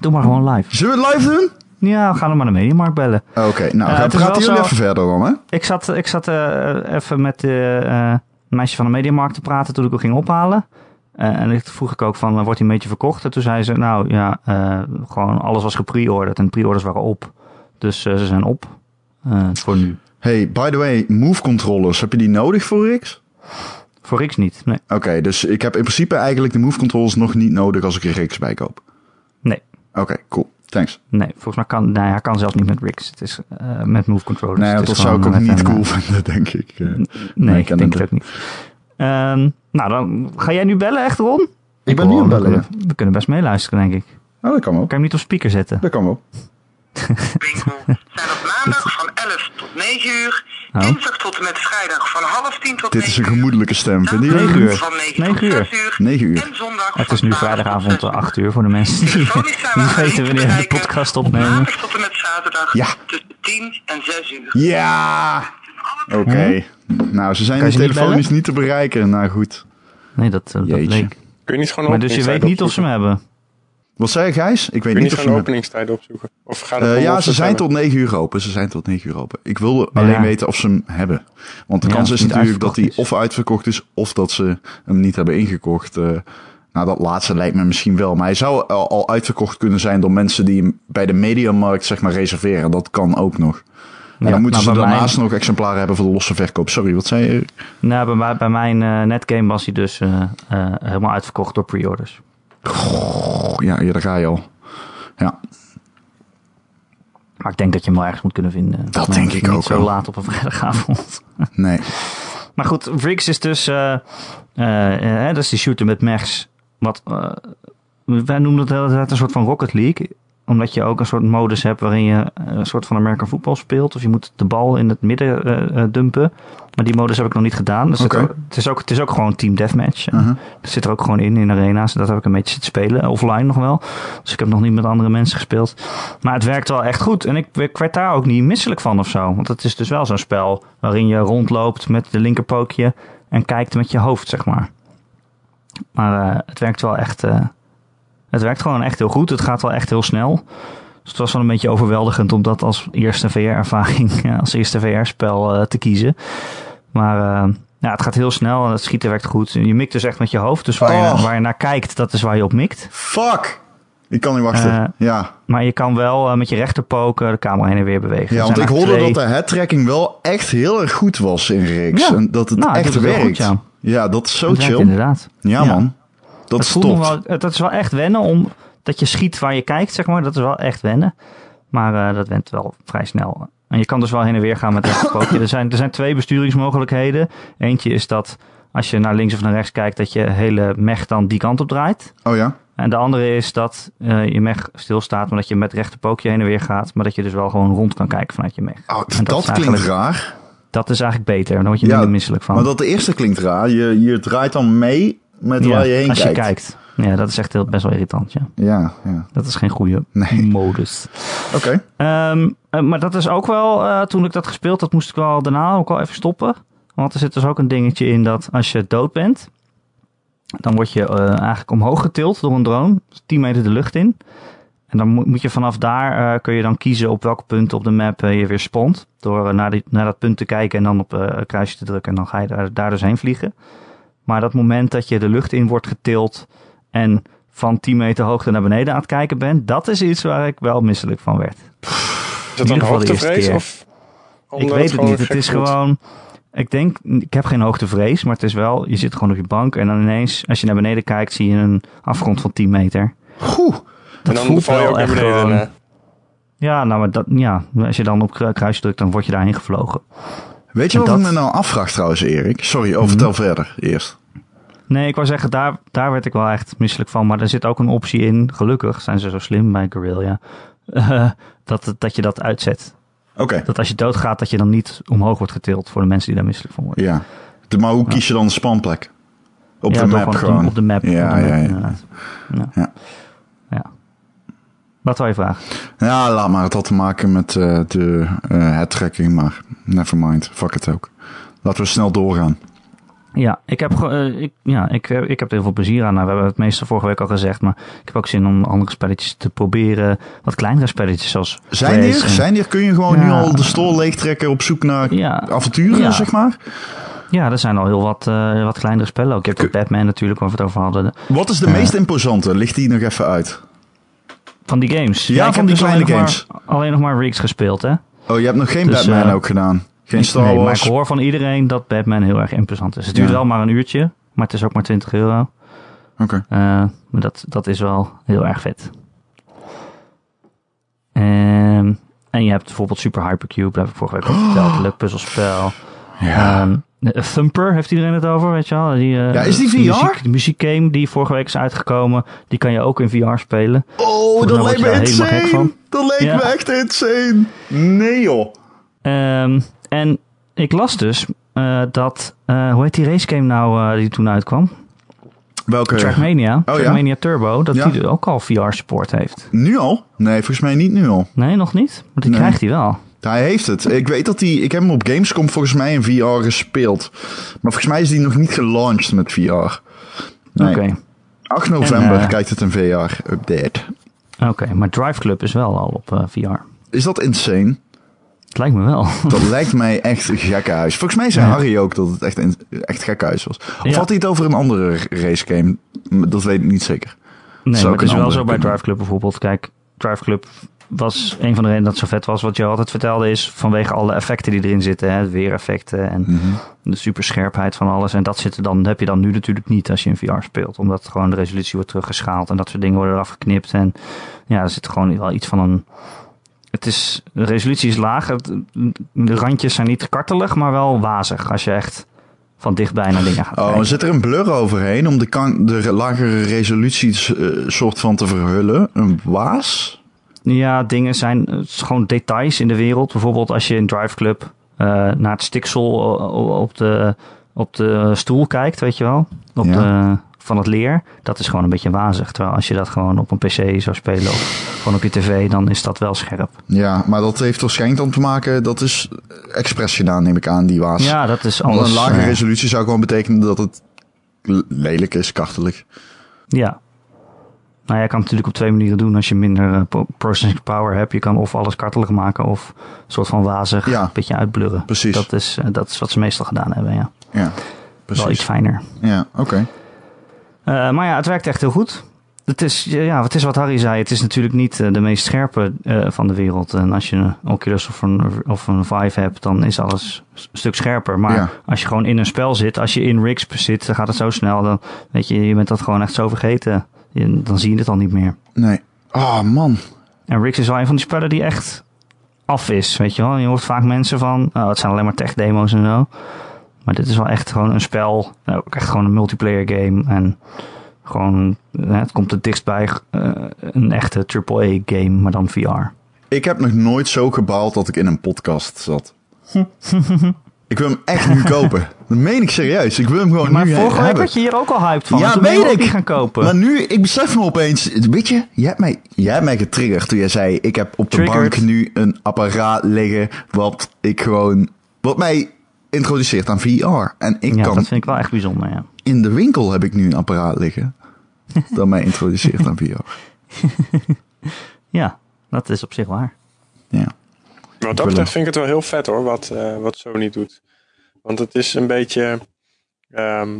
Speaker 1: Doe maar gewoon live.
Speaker 2: Zullen we het live doen?
Speaker 1: Ja, we gaan hem maar de Mediamarkt bellen.
Speaker 2: Oké, nou,
Speaker 1: Eh,
Speaker 2: gaat,
Speaker 1: het is
Speaker 2: praten
Speaker 1: wel
Speaker 2: jullie
Speaker 1: zo-
Speaker 2: even verder dan, hè?
Speaker 1: Ik zat, ik zat eh, even met de eh, meisje van de Mediamarkt te praten toen ik hem ging ophalen. Eh, en ik vroeg ik ook van, eh, wordt hij een beetje verkocht? En toen zei ze, nou ja, eh, gewoon alles was gepreorderd en de pre-orders waren op. Dus eh, ze zijn op. Eh, voor nu.
Speaker 2: Hey, by the way, move controllers, heb je die nodig voor Rix?
Speaker 1: Voor Rix niet, nee.
Speaker 2: Oké, dus ik heb in principe eigenlijk de move controllers nog niet nodig als ik er Rix bij koop.
Speaker 1: Nee.
Speaker 2: Oké, cool. Thanks.
Speaker 1: Nee, volgens mij kan nee, hij kan zelfs niet met Rix. Het is eh, met move controllers.
Speaker 2: Nee,
Speaker 1: Het is
Speaker 2: dat zou ik
Speaker 1: gewoon
Speaker 2: ook
Speaker 1: met
Speaker 2: niet
Speaker 1: een, eh,
Speaker 2: cool vinden, denk ik. Eh,
Speaker 1: Nee,
Speaker 2: Nee,
Speaker 1: ik
Speaker 2: ken
Speaker 1: denk
Speaker 2: het
Speaker 1: het ook niet. Ehm, nou, dan ga jij nu bellen, echt Ron?
Speaker 2: Ik ben nu aan het bellen,
Speaker 1: We kunnen, we kunnen best meeluisteren, denk ik. Kan
Speaker 2: Oh, dat kan wel.
Speaker 1: je hem niet op speaker zetten?
Speaker 2: Dat kan wel.
Speaker 4: Bingo. Zijn op maandag van 11 tot 9 uur.
Speaker 1: Oh.
Speaker 4: Dinsdag tot en met vrijdag van half 10 tot 9
Speaker 2: Dit is een gemoedelijke stem, vind je?
Speaker 1: Negen
Speaker 2: ook
Speaker 1: uur.
Speaker 2: niet?
Speaker 4: Van 9,
Speaker 1: Negen uur.
Speaker 4: tot 6 uur.
Speaker 2: 9 uur.
Speaker 4: En zondag
Speaker 1: Het
Speaker 4: van
Speaker 1: is nu
Speaker 4: 12
Speaker 1: vrijdagavond
Speaker 4: tot 6
Speaker 1: eh, 8 uur voor de mensen die
Speaker 4: Telefonisch zijn we
Speaker 1: niet
Speaker 4: aan
Speaker 1: weten
Speaker 4: te
Speaker 1: wanneer de
Speaker 4: bereiken.
Speaker 1: podcast
Speaker 4: uur.
Speaker 1: opnemen.
Speaker 4: Maandag tot en met zaterdag
Speaker 2: Ja.
Speaker 4: tussen 10 en 6 uur.
Speaker 2: Ja! Oké. Nou, ze zijn
Speaker 1: Hm? Kan
Speaker 2: dus
Speaker 1: je ze niet
Speaker 2: telefonisch
Speaker 1: bellen?
Speaker 2: niet te bereiken. Nou goed.
Speaker 1: Nee, dat, eh, dat
Speaker 2: Jeetje.
Speaker 1: leek.
Speaker 3: Kun je niet gewoon
Speaker 1: Maar dus je
Speaker 3: openingstijden
Speaker 1: weet niet of ze
Speaker 3: opzoeken?
Speaker 1: hem hebben.
Speaker 2: Wat zei je, Gijs? Ik weet
Speaker 3: Kun je
Speaker 2: niet
Speaker 3: niet
Speaker 2: of ze...
Speaker 3: gewoon
Speaker 2: me-
Speaker 3: openingstijden opzoeken? Of gaat het
Speaker 2: Eh
Speaker 3: om
Speaker 2: ja,
Speaker 3: of
Speaker 1: dus
Speaker 2: ze zijn
Speaker 3: hebben?
Speaker 2: tot 9 uur open. Ze zijn tot 9 uur open. Ik wil alleen weten of ze hem hebben. Want de
Speaker 1: Ja,
Speaker 2: kans
Speaker 1: of
Speaker 2: is
Speaker 1: het niet
Speaker 2: natuurlijk dat hij
Speaker 1: uitverkocht
Speaker 2: of uitverkocht is... of dat ze hem niet hebben ingekocht. Eh, nou, dat laatste lijkt me misschien wel. Maar hij zou al al uitverkocht kunnen zijn door mensen die hem bij de mediamarkt zeg maar, reserveren. Dat kan ook nog. En
Speaker 1: Ja,
Speaker 2: dan moeten
Speaker 1: nou,
Speaker 2: ze
Speaker 1: bij
Speaker 2: daarnaast nog exemplaren hebben voor de losse verkoop. Sorry, wat zei je?
Speaker 1: Nou, bij, mij- bij mijn eh, netgame was hij dus eh, eh, helemaal uitverkocht door pre-orders.
Speaker 2: Oh, ja, ja, daar ga je al. Ja,
Speaker 1: Maar ik denk dat je hem wel ergens moet kunnen vinden.
Speaker 2: Dat
Speaker 1: Maar
Speaker 2: denk ik ook
Speaker 1: Niet zo
Speaker 2: wel.
Speaker 1: laat op een vrijdagavond.
Speaker 2: nee.
Speaker 1: Maar goed, Vrix is dus. eh, eh, eh, dat is die shooter met mechs. Wat. eh, wij noemen dat de hele tijd een soort van Rocket League. Omdat je ook een soort modus hebt waarin je eh, een soort van American voetbal speelt. Of je moet de bal in het midden eh, eh, dumpen. Maar die modus heb ik nog niet gedaan. Dus
Speaker 2: Oké.
Speaker 1: het, het is ook, het is ook gewoon team deathmatch.
Speaker 2: Mhm.
Speaker 1: Dat zit er ook gewoon in, in arena's. Dat heb ik een beetje zitten spelen, offline nog wel. Dus ik heb nog niet met andere mensen gespeeld. Maar het werkt wel echt goed. En ik, ik werd daar ook niet misselijk van of zo. Want het is dus wel zo'n spel waarin je rondloopt met de linkerpookje en kijkt met je hoofd, zeg maar. Maar eh, het werkt wel echt... eh, het werkt gewoon echt heel goed. Het gaat wel echt heel snel. Dus het was wel een beetje overweldigend om dat als eerste VR-ervaring, ja, als eerste VR-spel eh, te kiezen. Maar eh, ja, het gaat heel snel en het schieten werkt goed. Je mikt dus echt met je hoofd. Dus waar, je,
Speaker 2: Oh.
Speaker 1: naar, waar je naar kijkt, dat is waar je op mikt.
Speaker 2: Fuck! Ik kan niet wachten.
Speaker 1: Eh,
Speaker 2: ja,
Speaker 1: Maar je kan wel eh, met je rechterpook eh, de camera heen en weer bewegen.
Speaker 2: ja
Speaker 1: Er
Speaker 2: want
Speaker 1: zijn
Speaker 2: ik hoorde
Speaker 1: eigenlijk
Speaker 2: dat de headtracking wel echt heel erg goed was in Rix.
Speaker 1: Ja.
Speaker 2: En dat het
Speaker 1: Nou, het
Speaker 2: echt
Speaker 1: doet het
Speaker 2: werkt.
Speaker 1: heel goed, ja.
Speaker 2: Ja, dat is zo
Speaker 1: Het werkt
Speaker 2: chill.
Speaker 1: inderdaad.
Speaker 2: Ja,
Speaker 1: Ja.
Speaker 2: man. Dat
Speaker 1: Het voelt me
Speaker 2: stopt.
Speaker 1: wel, het- dat is wel echt wennen om dat je schiet waar je kijkt, zeg maar. Dat is wel echt wennen. Maar eh, dat went wel vrij snel. En je kan dus wel heen en weer gaan met het spookje. Er zijn, er zijn twee besturingsmogelijkheden. Eentje is dat als je naar links of naar rechts kijkt, dat je hele mech dan die kant op draait.
Speaker 2: Oh ja?
Speaker 1: En de andere is dat eh, je mech stilstaat, maar dat je met rechterpookje heen en weer gaat. Maar dat je dus wel gewoon rond kan kijken vanuit je mech.
Speaker 2: Oh,
Speaker 1: En
Speaker 2: dat
Speaker 1: is
Speaker 2: klinkt
Speaker 1: eigenlijk-
Speaker 2: raar.
Speaker 1: Dat is eigenlijk beter. Dan word je
Speaker 2: Ja,
Speaker 1: minder misselijk van.
Speaker 2: Maar dat de eerste klinkt raar. Je, je draait dan mee met
Speaker 1: Ja,
Speaker 2: waar je heen
Speaker 1: als
Speaker 2: kijkt.
Speaker 1: je kijkt. Ja, dat is echt heel, best wel irritant. Ja.
Speaker 2: Ja, ja.
Speaker 1: Dat is geen goede
Speaker 2: Nee.
Speaker 1: modus.
Speaker 2: Oké.
Speaker 1: Ehm, eh, maar dat is ook wel, eh, toen ik dat gespeeld had, moest ik wel daarna ook wel even stoppen. Want er zit dus ook een dingetje in dat als je dood bent, dan word je eh, eigenlijk omhoog getild door een drone, 10 meter de lucht in. En dan mo- moet je vanaf daar, eh, kun je dan kiezen op welk punt op de map eh, je weer spont. Door eh, naar, die, naar dat punt te kijken en dan op eh, een kruisje te drukken en dan ga je daar, daar dus heen vliegen. Maar dat moment dat je de lucht in wordt getild en van 10 meter hoogte naar beneden aan het kijken bent, dat is iets waar ik wel misselijk van werd.
Speaker 3: Is dat
Speaker 1: in
Speaker 3: een
Speaker 1: ieder geval de
Speaker 3: hoogtevrees?
Speaker 1: eerste
Speaker 3: Of omdat
Speaker 1: ik weet het
Speaker 3: gewoon
Speaker 1: niet. Het
Speaker 3: gek
Speaker 1: is
Speaker 3: voelt?
Speaker 1: gewoon. Ik denk, ik heb geen hoogtevrees, maar het is wel, je zit gewoon op je bank en dan ineens, als je naar beneden kijkt, zie je een afgrond van 10 meter.
Speaker 2: Goeh.
Speaker 1: Dat
Speaker 3: en dan
Speaker 1: voelt
Speaker 3: val je
Speaker 1: wel
Speaker 3: ook naar
Speaker 1: echt
Speaker 3: beneden.
Speaker 1: gewoon-
Speaker 3: eh.
Speaker 1: Ja, nou, maar dat, ja, als je dan op kru- kruis drukt, dan word je daarheen gevlogen.
Speaker 2: Weet je wat
Speaker 1: dat- Mhm.
Speaker 2: ik me nou afvraag trouwens, Erik? Sorry, oh, vertel verder eerst.
Speaker 1: Nee, ik wou zeggen, daar, daar werd ik wel echt misselijk van. Maar er zit ook een optie in, gelukkig zijn ze zo slim bij Guerrilla, eh, dat, het- dat je dat uitzet.
Speaker 2: Oké.
Speaker 1: Dat als je doodgaat, dat je dan niet omhoog wordt getild voor de mensen die daar misselijk van worden.
Speaker 2: Ja. De, maar hoe kies je dan de spanplek? Op
Speaker 1: Ja,
Speaker 2: de
Speaker 1: door
Speaker 2: map
Speaker 1: te-
Speaker 2: gewoon.
Speaker 1: Op de map.
Speaker 2: Ja,
Speaker 1: op de map,
Speaker 2: ja, ja.
Speaker 1: inderdaad. Ja.
Speaker 2: Ja.
Speaker 1: Ja. Wat wou je vragen?
Speaker 2: Ja, laat maar. Het had te maken met eh, de eh headtracking, maar never mind. Fuck het ook. Laten we snel doorgaan.
Speaker 1: Ja, ik heb, ge- eh, ik, ja, ik, heb- ik heb er heel veel plezier aan. Nou, we hebben het meeste vorige week al gezegd, maar ik heb ook zin om andere spelletjes te proberen. Wat kleinere spelletjes zoals.
Speaker 2: Zijn
Speaker 1: Trace
Speaker 2: er?
Speaker 1: en-
Speaker 2: Zijn er? Kun je gewoon nu
Speaker 1: Ja.
Speaker 2: al de store leegtrekken op zoek naar
Speaker 1: Ja.
Speaker 2: avonturen,
Speaker 1: Ja.
Speaker 2: zeg maar?
Speaker 1: Ja, er zijn al heel wat, eh, wat kleinere spellen. Ook je hebt
Speaker 2: Kun-
Speaker 1: ook Batman natuurlijk, waar we het over hadden.
Speaker 2: Wat is de meest imposante? Ligt die nog even uit?
Speaker 1: Van die games.
Speaker 2: Ja,
Speaker 1: ik
Speaker 2: van
Speaker 1: heb dus
Speaker 2: die
Speaker 1: alleen
Speaker 2: kleine
Speaker 1: nog maar- alleen nog maar Riggs gespeeld, hè?
Speaker 2: Oh, je hebt nog geen
Speaker 1: Dus,
Speaker 2: Batman
Speaker 1: eh,
Speaker 2: ook gedaan. Geen Star
Speaker 1: nee, maar
Speaker 2: Wars.
Speaker 1: ik hoor van iedereen dat Batman heel erg interessant is. Het duurt
Speaker 2: Ja.
Speaker 1: wel maar een uurtje, maar het is ook maar 20 euro.
Speaker 2: Oké.
Speaker 1: Eh, maar dat, dat is wel heel erg vet. Ehm, en je hebt bijvoorbeeld Super Hypercube, daar heb ik vorige week over verteld. Een leuk puzzelspel.
Speaker 2: Ja.
Speaker 1: Ehm, eh, Thumper heeft iedereen het over, weet je wel? Die, eh,
Speaker 2: Ja, is die
Speaker 1: de
Speaker 2: VR?
Speaker 1: Muziek, de muziekgame die vorige week is uitgekomen, die kan je ook in VR spelen.
Speaker 2: oh, dat
Speaker 1: mij word
Speaker 2: lijkt
Speaker 1: je
Speaker 2: me
Speaker 1: daar helemaal gek
Speaker 2: insane.
Speaker 1: van.
Speaker 2: Dat lijkt
Speaker 1: Ja.
Speaker 2: me echt insane. Nee, joh.
Speaker 1: Ehm, en ik las dus eh, dat, eh, hoe heet die racegame nou eh, die toen uitkwam?
Speaker 2: Welke?
Speaker 1: Trackmania,
Speaker 2: Eh. Oh, ja?
Speaker 1: Trackmania Turbo, dat
Speaker 2: Ja.
Speaker 1: die ook al VR support heeft.
Speaker 2: Nu al? Nee, volgens mij niet nu al.
Speaker 1: Nee, nog niet, maar die
Speaker 2: Nee.
Speaker 1: krijgt hij wel.
Speaker 2: Hij heeft het. Ik weet dat hij... Ik heb hem op Gamescom volgens mij in VR gespeeld. Maar volgens mij is die nog niet gelaunched met VR. Nee.
Speaker 1: Oké,
Speaker 2: 8 november
Speaker 1: En, eh,
Speaker 2: kijkt het een VR-update.
Speaker 1: Oké, maar Drive Club is wel al op eh, VR.
Speaker 2: Is dat insane?
Speaker 1: Het lijkt me wel.
Speaker 2: Dat lijkt mij echt een gekkenhuis. Volgens mij zei
Speaker 1: Ja.
Speaker 2: Harry ook dat het echt, in, echt gekkenhuis was. Of
Speaker 1: Ja.
Speaker 2: had hij het over een andere race game? Dat weet ik niet zeker.
Speaker 1: Nee,
Speaker 2: Zou
Speaker 1: maar
Speaker 2: ook
Speaker 1: het is
Speaker 2: een
Speaker 1: wel
Speaker 2: andere
Speaker 1: zo bij
Speaker 2: kunnen.
Speaker 1: Drive Club bijvoorbeeld. Kijk, Drive Club was een van de redenen dat het zo vet was. Wat je altijd vertelde is vanwege alle effecten die erin zitten. Hè, weereffecten en de superscherpheid van alles. En dat, zit er dan, heb je dan nu natuurlijk niet als je in VR speelt. Omdat gewoon de resolutie wordt teruggeschaald en dat soort dingen worden eraf geknipt. En ja, er zit gewoon wel iets van een... Het is, de resolutie is laag. Het- de randjes zijn niet kartelig, maar wel wazig. Als je echt van dichtbij naar dingen gaat
Speaker 2: Oh,
Speaker 1: kijken.
Speaker 2: zit er een blur overheen om de, kan- de lagere resoluties eh, soort van te verhullen? Een waas?
Speaker 1: Ja, dingen zijn eh, het is gewoon details in de wereld. Bijvoorbeeld als je in Drive Club eh, naar het stiksel eh, op de, op de stoel kijkt, weet je wel. Op
Speaker 2: Ja.
Speaker 1: de, van het leer. Dat is gewoon een beetje wazig. Terwijl als je dat gewoon op een pc zou spelen of gewoon op je tv, dan is dat wel scherp.
Speaker 2: Ja, maar dat heeft waarschijnlijk dan te maken... Dat is expres gedaan, neem ik aan, die waas.
Speaker 1: Ja, dat is
Speaker 2: Want
Speaker 1: alles.
Speaker 2: een lagere
Speaker 1: eh,
Speaker 2: resolutie zou gewoon betekenen dat het l- lelijk is, kartelig.
Speaker 1: Ja. Nou, je kan het natuurlijk op twee manieren doen als je minder eh, po- processing power hebt. Je kan of alles kartelig maken of een soort van wazig,
Speaker 2: Ja.
Speaker 1: een beetje uitblurren.
Speaker 2: Precies.
Speaker 1: Dat is, eh, dat is wat ze meestal gedaan hebben, ja.
Speaker 2: Ja,
Speaker 1: Wel iets
Speaker 2: precies.
Speaker 1: fijner.
Speaker 2: Ja, oké.
Speaker 1: Eh, maar ja, het werkt echt heel goed. Het is, ja, het is wat Harry zei. Het is natuurlijk niet eh, de meest scherpe eh, van de wereld. En als je een Oculus of een, of een Vive hebt, dan is alles s- een stuk scherper. Maar
Speaker 2: Ja.
Speaker 1: als je gewoon in een spel zit, als je in rigs zit, dan gaat het zo snel. Dan weet je, je bent dat gewoon echt zo vergeten. Je- dan zie je het al niet meer.
Speaker 2: Nee. Oh, man.
Speaker 1: En rigs is wel een van die spellen die echt af is, weet je wel. Je hoort vaak mensen van, oh, het zijn alleen maar tech-demo's en zo. Maar dit is wel echt gewoon een spel, nou, ook echt gewoon een multiplayer game. En gewoon, eh, het komt het dichtst bij eh, een echte AAA-game, maar dan VR.
Speaker 2: Ik heb nog nooit zo gebaald dat ik in een podcast zat. ik wil hem echt nu kopen. Dat meen ik serieus. Ik wil hem gewoon
Speaker 1: Maar
Speaker 2: nu he-
Speaker 1: vorige week
Speaker 2: hebben.
Speaker 1: werd je hier ook al hyped van.
Speaker 2: Ja,
Speaker 1: en toen ben
Speaker 2: weet
Speaker 1: je ook
Speaker 2: ik.
Speaker 1: niet gaan kopen.
Speaker 2: Maar nu, ik besef me opeens... Weet je, jij hebt mij, jij hebt mij getriggerd toen jij zei... Ik heb op de
Speaker 1: Triggered.
Speaker 2: bank nu een apparaat liggen wat ik gewoon... Wat mij introduceert aan VR. En ik
Speaker 1: ja,
Speaker 2: kan...
Speaker 1: dat vind ik wel echt bijzonder, ja.
Speaker 2: In de winkel heb ik nu een apparaat liggen dat mij introduceert aan Nou, VR.
Speaker 1: Ja, dat is op zich waar.
Speaker 2: Ja.
Speaker 3: Wat
Speaker 2: wil
Speaker 3: dat
Speaker 2: hem.
Speaker 3: betreft vind ik het wel heel vet hoor, wat, eh, wat Sony doet. Want het is een beetje. ehm,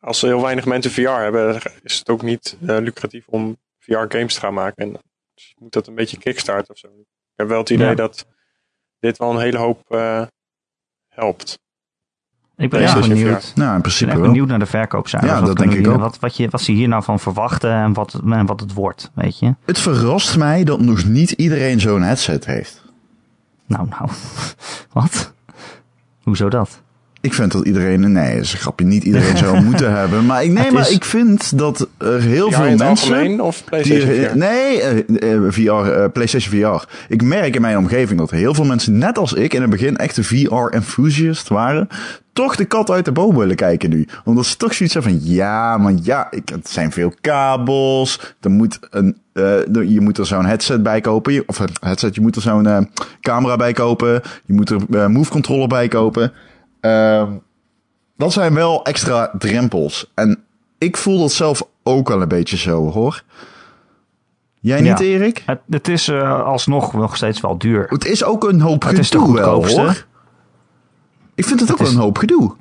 Speaker 3: als er heel weinig mensen VR hebben, dan is het ook niet eh, lucratief om VR-games te gaan maken. En dus moet dat een beetje kickstart of zo. Ik heb wel het idee
Speaker 1: Ja.
Speaker 3: dat dit wel een hele hoop eh, helpt.
Speaker 1: Ik ben
Speaker 3: Ja,
Speaker 1: echt
Speaker 3: dat is
Speaker 1: benieuwd.
Speaker 3: VR.
Speaker 2: Nou, in
Speaker 1: Ik ben
Speaker 2: principe
Speaker 1: echt
Speaker 2: wel.
Speaker 1: benieuwd naar de verkoopcijfers.
Speaker 2: Ja,
Speaker 1: Wat
Speaker 2: dat
Speaker 1: kunnen
Speaker 2: denk
Speaker 1: we
Speaker 2: ik
Speaker 1: hier- Wat, wat, je, wat ze hier nou van verwachten en wat, het- en wat het wordt, weet je.
Speaker 2: Het verrast mij dat nog niet iedereen zo'n headset heeft.
Speaker 1: Nou, nou. Wat? Hoezo dat?
Speaker 2: Ik vind dat iedereen, nee, dat is een grapje, niet iedereen zou moeten hebben. Maar ik, nee,
Speaker 1: Het
Speaker 2: maar
Speaker 1: is-
Speaker 2: ik vind dat er heel
Speaker 3: VR in
Speaker 2: veel
Speaker 3: het
Speaker 2: mensen.
Speaker 3: algemeen of
Speaker 2: Die,
Speaker 3: PlayStation VR?
Speaker 2: nee, eh, eh, VR, eh, PlayStation VR. Ik merk in mijn omgeving dat heel veel mensen, net als ik, in het begin echte VR-enthusiast waren. Toch de kat uit de boom willen kijken nu. Omdat ze toch zoiets hebben van, ja, maar ja, ik, het zijn veel kabels. Er moet een, eh, je moet er zo'n headset bij kopen. Je- Of een headset, je moet er zo'n eh, camera bij kopen. Je moet er eh, move controller bij kopen. Ehm, dat zijn wel extra drempels. En ik voel dat zelf ook wel een beetje zo, hoor. Jij niet,
Speaker 1: Ja.
Speaker 2: Erik?
Speaker 1: Het, het is eh, alsnog nog steeds wel duur.
Speaker 2: Het is ook een hoop
Speaker 1: Het is de
Speaker 2: gedoe wel,
Speaker 1: goedkoopste.
Speaker 2: hoor. Ik vind het ook
Speaker 1: Het
Speaker 2: wel
Speaker 1: is-
Speaker 2: een hoop gedoe.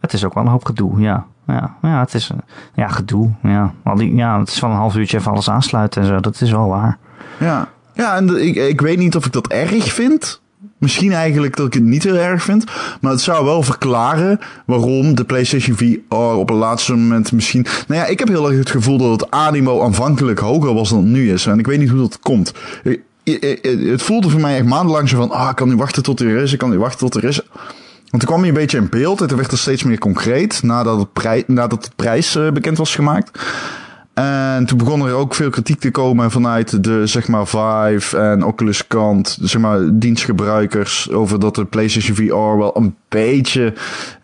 Speaker 1: Het is ook wel een hoop gedoe, ja. Ja, ja het is eh, ja, gedoe. Ja. Al die, ja, het is wel een half uurtje even alles aansluiten en zo. Dat is wel waar.
Speaker 2: Ja, ja en de- ik, ik weet niet of ik dat erg vind. Misschien eigenlijk dat ik het niet heel erg vind. Maar het zou wel verklaren waarom de PlayStation VR op het laatste moment misschien... Nou ja, ik heb heel erg het gevoel dat het animo aanvankelijk hoger was dan het nu is. En ik weet niet hoe dat komt. Eh, Ik- ik- ik- Het voelde voor mij echt maandenlang zo van... Ah, ik kan nu wachten tot er is. Ik kan nu wachten tot er is. Want toen kwam je een beetje in beeld. En toen werd het steeds meer concreet nadat, het prij- nadat de prijs eh, bekend was gemaakt. En toen begon er ook veel kritiek te komen vanuit de zeg maar, Vive en Oculus kant, zeg maar, dienstgebruikers, over dat de PlayStation VR wel een beetje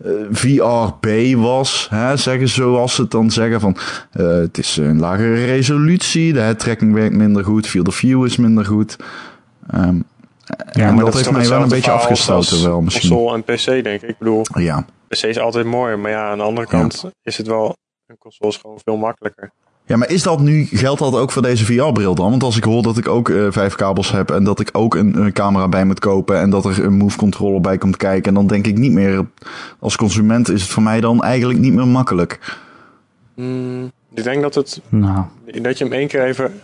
Speaker 2: eh, VRB was. Hè? Zeggen zoals ze het dan zeggen van, eh, het is een lagere resolutie, de headtracking werkt minder goed, field of view is minder goed. Ehm, en dat,
Speaker 3: is
Speaker 2: heeft mij
Speaker 3: toch
Speaker 2: wel een
Speaker 3: hetzelfde
Speaker 2: beetje
Speaker 3: verhaal
Speaker 2: afgestoten
Speaker 3: als
Speaker 2: wel misschien.
Speaker 3: Console en PC, denk ik. Ik bedoel,
Speaker 2: Ja.
Speaker 3: PC is altijd mooier. Maar ja, aan de andere kant is het wel... Een console is gewoon veel makkelijker.
Speaker 2: Ja, maar is dat nu, geldt dat ook voor deze VR-bril dan? Want als ik hoor dat ik ook eh, vijf kabels heb en dat ik ook een, eh, camera bij moet kopen en dat er een move controller bij komt kijken, dan denk ik niet meer, als consument is het voor mij dan eigenlijk niet meer makkelijk.
Speaker 3: Hmm, ik denk dat, het,
Speaker 1: Nou,
Speaker 3: dat je hem één keer even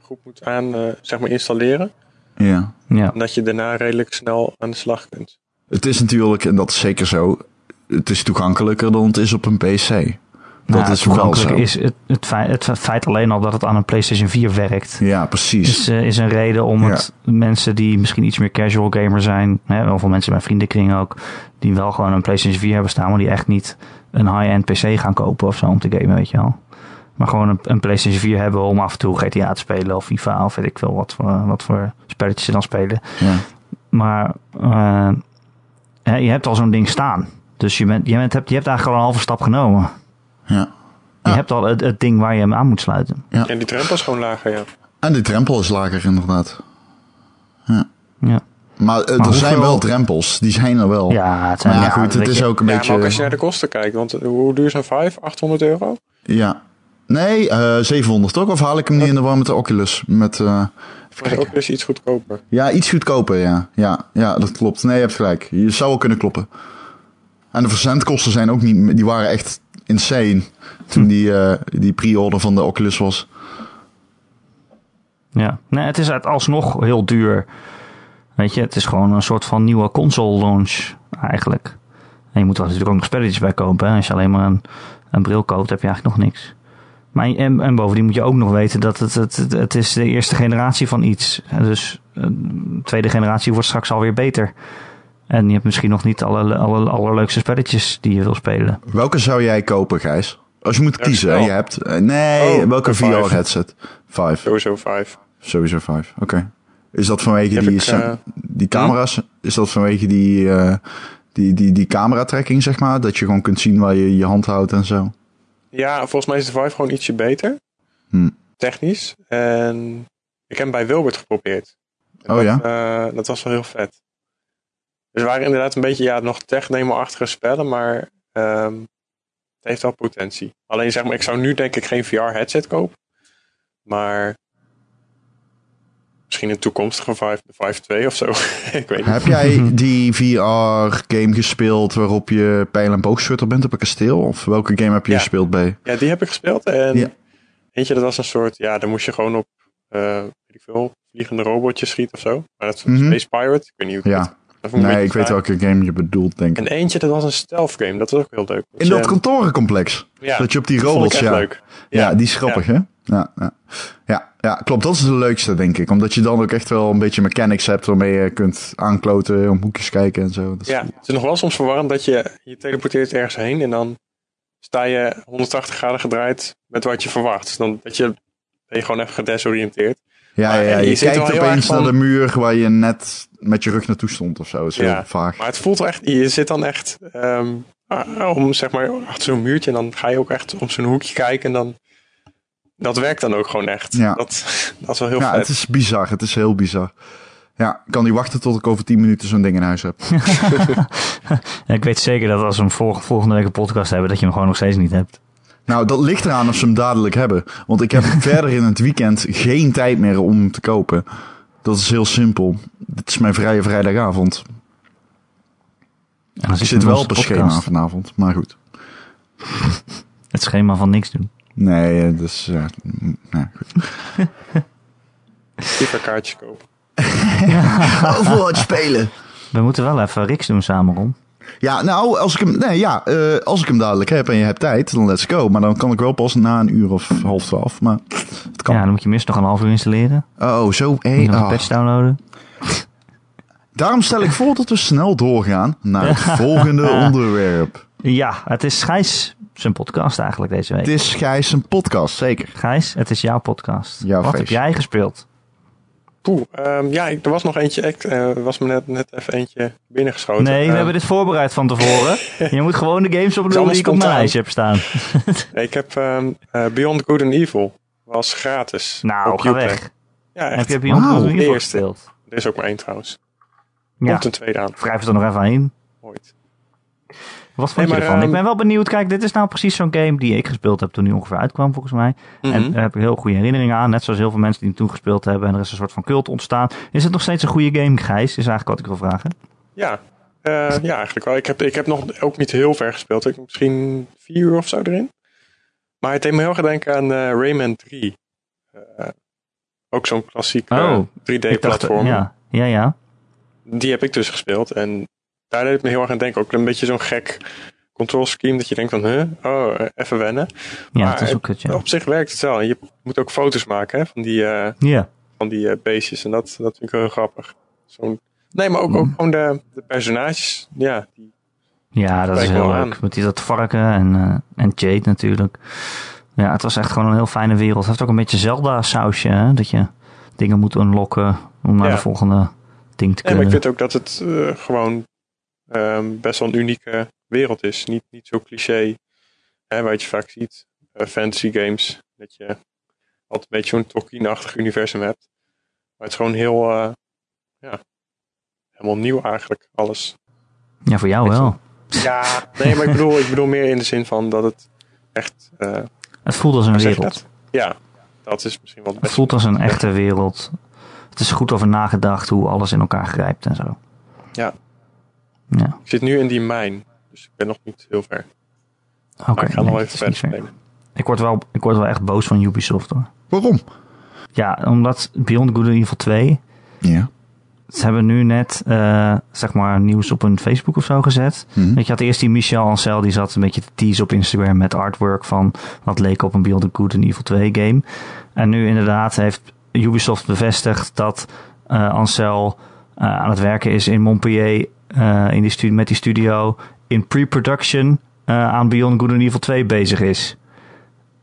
Speaker 3: goed moet aan, eh, zeg maar installeren.
Speaker 2: Ja.
Speaker 1: ja.
Speaker 3: En dat je daarna redelijk snel aan de slag kunt.
Speaker 2: Het is natuurlijk, en dat is zeker zo, het is toegankelijker dan het is op een PC. Dat
Speaker 1: Nou,
Speaker 2: is wel zo.
Speaker 1: toegankelijk is het, het, feit, het feit alleen al dat het aan een PlayStation 4 werkt.
Speaker 2: Ja, precies.
Speaker 1: Is, eh, is een reden om het mensen die misschien iets meer casual gamer zijn, hè, wel veel mensen bij vriendenkring ook, die wel gewoon een PlayStation 4 hebben staan, maar die echt niet een high-end PC gaan kopen of zo om te gamen, weet je wel. Maar gewoon een, een PlayStation 4 hebben om af en toe GTA te spelen of FIFA of weet ik veel wat voor, wat voor spelletjes ze dan spelen.
Speaker 2: Ja.
Speaker 1: Maar eh, hè, je hebt al zo'n ding staan. Dus je, bent, je, bent, hebt, je hebt eigenlijk al een halve stap genomen.
Speaker 2: ja.
Speaker 1: Je
Speaker 2: Ja.
Speaker 1: hebt al het, het ding waar je hem aan moet sluiten.
Speaker 3: En die drempel is gewoon lager, ja.
Speaker 2: En die drempel is lager inderdaad.
Speaker 1: Ja,
Speaker 2: Maar, eh, er
Speaker 1: Maar
Speaker 2: zijn
Speaker 1: hoeveel-
Speaker 2: wel drempels, die zijn er wel.
Speaker 1: ja het
Speaker 2: Maar
Speaker 1: zijn
Speaker 2: ja,
Speaker 1: ja,
Speaker 2: goed, het
Speaker 1: weet
Speaker 2: is
Speaker 1: je,
Speaker 2: ook een
Speaker 3: ja,
Speaker 2: beetje...
Speaker 3: maar ook als je naar de kosten kijkt, want eh, hoe duur is een 5? 800 euro?
Speaker 2: Ja. Nee, eh 700 toch? Of haal ik hem niet in de war met de Oculus? Met, eh,
Speaker 3: Dat is ook dus iets goedkoper.
Speaker 2: ja, iets goedkoper, ja. ja. Ja, dat klopt. Nee, je hebt gelijk. Je zou wel kunnen kloppen. En de verzendkosten zijn ook niet... Die waren echt insane toen die,
Speaker 3: Hm.
Speaker 2: eh, die pre-order van de Oculus was.
Speaker 1: Ja, nee, het is uit- alsnog heel duur. Weet je, het is gewoon een soort van nieuwe console launch eigenlijk. En je moet er natuurlijk ook nog spelletjes bij kopen. Hè? Als je alleen maar een, een bril koopt, heb je eigenlijk nog niks. Maar je- en, en bovendien moet je ook nog weten dat het, het, het, het is de eerste generatie van iets. En Dus eh, de tweede generatie wordt straks alweer beter. En je hebt misschien nog niet alle, alle allerleukste spelletjes die je wil spelen.
Speaker 2: Welke zou jij kopen, Gijs? Als je moet
Speaker 3: Ja,
Speaker 2: kiezen, hè?
Speaker 3: snel.
Speaker 2: je hebt... eh, nee,
Speaker 3: Oh,
Speaker 2: welke
Speaker 3: een Vive.
Speaker 2: VR-headset? Vijf.
Speaker 3: Sowieso 5.
Speaker 2: Sowieso vijf. Oké. Is dat vanwege
Speaker 3: Heb
Speaker 2: die,
Speaker 3: ik,
Speaker 2: sen-
Speaker 3: eh,
Speaker 2: die camera's? Is dat vanwege die, eh, die, die, die camera-tracking, zeg maar? Dat je gewoon kunt zien waar je je hand houdt en zo?
Speaker 3: Ja, volgens mij is de 5 gewoon ietsje beter.
Speaker 2: Hm.
Speaker 3: Technisch. En ik heb hem bij Wilbert geprobeerd. En
Speaker 2: Oh ja?
Speaker 3: dat, eh, dat was wel heel vet. Dus er waren inderdaad een beetje ja, nog tech-demo-achtige spellen, maar ehm, het heeft wel potentie. Alleen zeg maar, ik zou nu denk ik geen VR-headset kopen. Maar misschien een toekomstige 5, de 5.2 of zo. ik weet niet.
Speaker 2: Heb jij die VR-game gespeeld waarop je pijl- en boogschutter bent op een kasteel? Of welke game heb je
Speaker 3: Ja.
Speaker 2: gespeeld bij?
Speaker 3: Ja, die heb ik gespeeld. En
Speaker 2: Ja.
Speaker 3: eentje, dat was een soort... Ja, dan moest je gewoon op, eh, weet ik veel, vliegende robotjes schieten of zo. Maar dat is
Speaker 2: Mhm.
Speaker 3: Space Pirate. Ik weet niet hoe het
Speaker 2: Ja,
Speaker 3: dat vond een
Speaker 2: nee, ik
Speaker 3: beetje
Speaker 2: weet
Speaker 3: saai.
Speaker 2: welke game je bedoelt, denk ik.
Speaker 3: nou? En eentje, dat was een stealth game. Dat was ook heel leuk. Dus, ehm,
Speaker 2: In dat kantorencomplex.
Speaker 3: Ja.
Speaker 2: Dat je op die
Speaker 3: vond ik
Speaker 2: robots,
Speaker 3: echt
Speaker 2: ja.
Speaker 3: leuk.
Speaker 2: Ja,
Speaker 3: Ja,
Speaker 2: die is grappig, hè? Ja, ja. Ja, ja, klopt. Dat is de leukste, denk ik. Omdat je dan ook echt wel een beetje mechanics hebt waarmee je kunt aankloten, om hoekjes kijken en zo. Dat is-
Speaker 3: Ja, het is nog wel soms verwarrend dat je je teleporteert ergens heen en dan sta je 180 graden gedraaid met wat je verwacht. Dus dan dat je, ben je gewoon even gedesoriënteerd.
Speaker 2: ja, ja, ja.
Speaker 3: en je
Speaker 2: Je,
Speaker 3: zit er wel
Speaker 2: kijkt
Speaker 3: heel
Speaker 2: opeens
Speaker 3: erg van-
Speaker 2: naar de muur waar je net met je rug naartoe stond of zo. Dat is
Speaker 3: Ja.
Speaker 2: heel vaag.
Speaker 3: Maar het voelt wel echt, je zit dan echt ehm, ah, om zeg maar achter zo'n muurtje en dan ga je ook echt om zo'n hoekje kijken en dan dat werkt dan ook gewoon echt.
Speaker 2: Ja.
Speaker 3: Dat, dat is wel heel
Speaker 2: ja,
Speaker 3: vet.
Speaker 2: het is bizar. Het is heel bizar. Ja, ik kan niet wachten tot ik over 10 minuten zo'n ding in huis heb.
Speaker 1: En ik weet zeker dat als we hem volg- volgende week een podcast hebben, dat je hem gewoon nog steeds niet hebt.
Speaker 2: Nou, dat ligt eraan of ze hem dadelijk hebben. Want ik heb verder in het weekend geen tijd meer om hem te kopen. Dat is heel simpel. Dit is mijn vrije vrijdagavond.
Speaker 1: En dan
Speaker 2: Ik
Speaker 1: je
Speaker 2: zit
Speaker 1: in
Speaker 2: wel
Speaker 1: onze
Speaker 2: op een
Speaker 1: podcast.
Speaker 2: schema vanavond, maar goed.
Speaker 1: Het schema van niks doen.
Speaker 2: Nee, eh, dus... eh, mm, nou, goed.
Speaker 3: Kippenkaartje kopen.
Speaker 2: Overwatch spelen!
Speaker 1: We moeten wel even Riks doen samen, Ron.
Speaker 2: Ja, nou, als ik hem, nee, ja, eh, als ik hem dadelijk heb en je hebt tijd, dan let's go. Maar dan kan ik wel pas na een uur of half twaalf. Maar het kan.
Speaker 1: Ja, dan moet je minstens nog een half uur installeren.
Speaker 2: Oh, zo. hé,
Speaker 1: Moet je nog
Speaker 2: ah.
Speaker 1: een patch downloaden.
Speaker 2: Daarom stel ik voor dat we snel doorgaan naar het volgende onderwerp.
Speaker 1: Ja, het is Gijs zijn podcast eigenlijk deze week.
Speaker 2: Het is Gijs een podcast, zeker.
Speaker 1: Gijs, het is jouw podcast.
Speaker 2: Jouw
Speaker 1: Wat heb
Speaker 2: feest.
Speaker 1: jij gespeeld?
Speaker 3: Poeh, ehm, ja, ik- er was nog eentje. Ik eh, was me net, net even eentje binnengeschoten.
Speaker 1: Nee, we
Speaker 3: Ehm,
Speaker 1: hebben dit voorbereid van tevoren. je moet gewoon de games opnoemen
Speaker 3: allemaal
Speaker 1: die ik op mijn
Speaker 3: spontaan.
Speaker 1: lijstje heb staan.
Speaker 3: Ik heb ehm, eh, Beyond Good and Evil. Was gratis.
Speaker 1: Nou,
Speaker 3: Op
Speaker 1: ga
Speaker 3: Uplay.
Speaker 1: weg.
Speaker 3: Ja, echt.
Speaker 1: Heb je Beyond
Speaker 2: Wauw.
Speaker 1: Good and Evil
Speaker 3: Eerste.
Speaker 1: gespeeld?
Speaker 3: Er is ook maar één trouwens.
Speaker 1: Ja,
Speaker 3: Komt een tweede aan.
Speaker 1: wrijf het er nog even in.
Speaker 3: Ooit.
Speaker 1: Wat vond
Speaker 3: Nee,
Speaker 1: je
Speaker 3: maar,
Speaker 1: ervan?
Speaker 3: ehm,
Speaker 1: ik ben wel benieuwd. Kijk, dit is nou precies zo'n game die ik gespeeld heb toen die ongeveer uitkwam, volgens mij.
Speaker 3: Mhm.
Speaker 1: En daar heb ik heel goede herinneringen aan. Net zoals heel veel mensen die hem toen gespeeld hebben. En er is een soort van cult ontstaan. Is het nog steeds een goede game, Gijs? Is eigenlijk wat ik wil vragen.
Speaker 3: Ja. Eh, ja, eigenlijk wel. Ik heb, ik heb nog ook niet heel ver gespeeld. Ik heb misschien vier uur of zo erin. Maar het deed me heel erg denken aan eh, Rayman 3. Eh, ook zo'n klassiek eh,
Speaker 1: Oh, ik dacht,
Speaker 3: 3D-platform.
Speaker 1: ja, ja, ja.
Speaker 3: Die heb ik dus gespeeld. En daar deed het me heel erg aan denken. Ook een beetje zo'n gek control scheme. Dat je denkt van, huh? Oh, eh, even wennen.
Speaker 1: Ja,
Speaker 3: Maar
Speaker 1: het is
Speaker 3: het-
Speaker 1: ook kut, ja.
Speaker 3: Op zich werkt het wel. En je moet ook foto's maken hè, van die... eh,
Speaker 1: Ja,
Speaker 3: van die eh, beestjes. En dat, dat vind ik heel grappig. Zo'n- nee, maar ook, ook gewoon de, de personages. Ja, die,
Speaker 1: ja dat is
Speaker 3: Spreek
Speaker 1: heel
Speaker 3: wel aan.
Speaker 1: leuk. Met die dat varken en, eh, en Jade natuurlijk. Ja, het was echt gewoon een heel fijne wereld. Het heeft ook een beetje Zelda-sausje, hè? Dat je dingen moet unlocken om naar
Speaker 3: Ja.
Speaker 1: de volgende ding te
Speaker 3: nee, maar
Speaker 1: kunnen.
Speaker 3: ik vind ook dat het eh, gewoon ehm, best wel een unieke wereld is. Niet, niet zo cliché hè, wat je vaak ziet. eh, fantasy games. Dat je altijd een beetje zo'n Tolkien-achtig universum hebt. Maar het is gewoon heel... eh, ja, helemaal nieuw eigenlijk, alles.
Speaker 1: Ja, voor jou
Speaker 3: Weet je
Speaker 1: wel.
Speaker 3: Ja, nee, maar ik bedoel, ik bedoel meer in de zin van dat het echt... eh,
Speaker 1: Het voelt als een
Speaker 3: hoe zeg je
Speaker 1: wereld.
Speaker 3: dat? Ja, dat is misschien wel
Speaker 1: Het
Speaker 3: het beste.
Speaker 1: voelt als een echte wereld. Het is goed over nagedacht hoe alles in elkaar grijpt en zo.
Speaker 3: Ja.
Speaker 1: Ja,
Speaker 3: Ik zit nu in die mijn, dus ik ben nog niet heel ver.
Speaker 1: oké.
Speaker 3: maar ik ga
Speaker 1: nee,
Speaker 3: nog
Speaker 1: het
Speaker 3: even
Speaker 1: is
Speaker 3: verder
Speaker 1: niet ver.
Speaker 3: spelen.
Speaker 1: Ik word, wel, ik word wel echt boos van Ubisoft hoor.
Speaker 2: Waarom?
Speaker 1: Ja, omdat Beyond Good and Evil 2...
Speaker 2: Ja.
Speaker 1: Ze hebben nu net, eh, zeg maar, nieuws op hun Facebook of zo gezet.
Speaker 2: Mhm.
Speaker 1: Weet je, had eerst die Michel Ancel, die zat een beetje te teasen op Instagram met artwork van wat leek op een Beyond Good and Evil 2 game. En nu inderdaad heeft Ubisoft bevestigd dat eh, Ancel eh, aan het werken is in Montpellier eh, in die stu- met die studio in pre-production eh, aan Beyond Good and Evil 2 bezig is.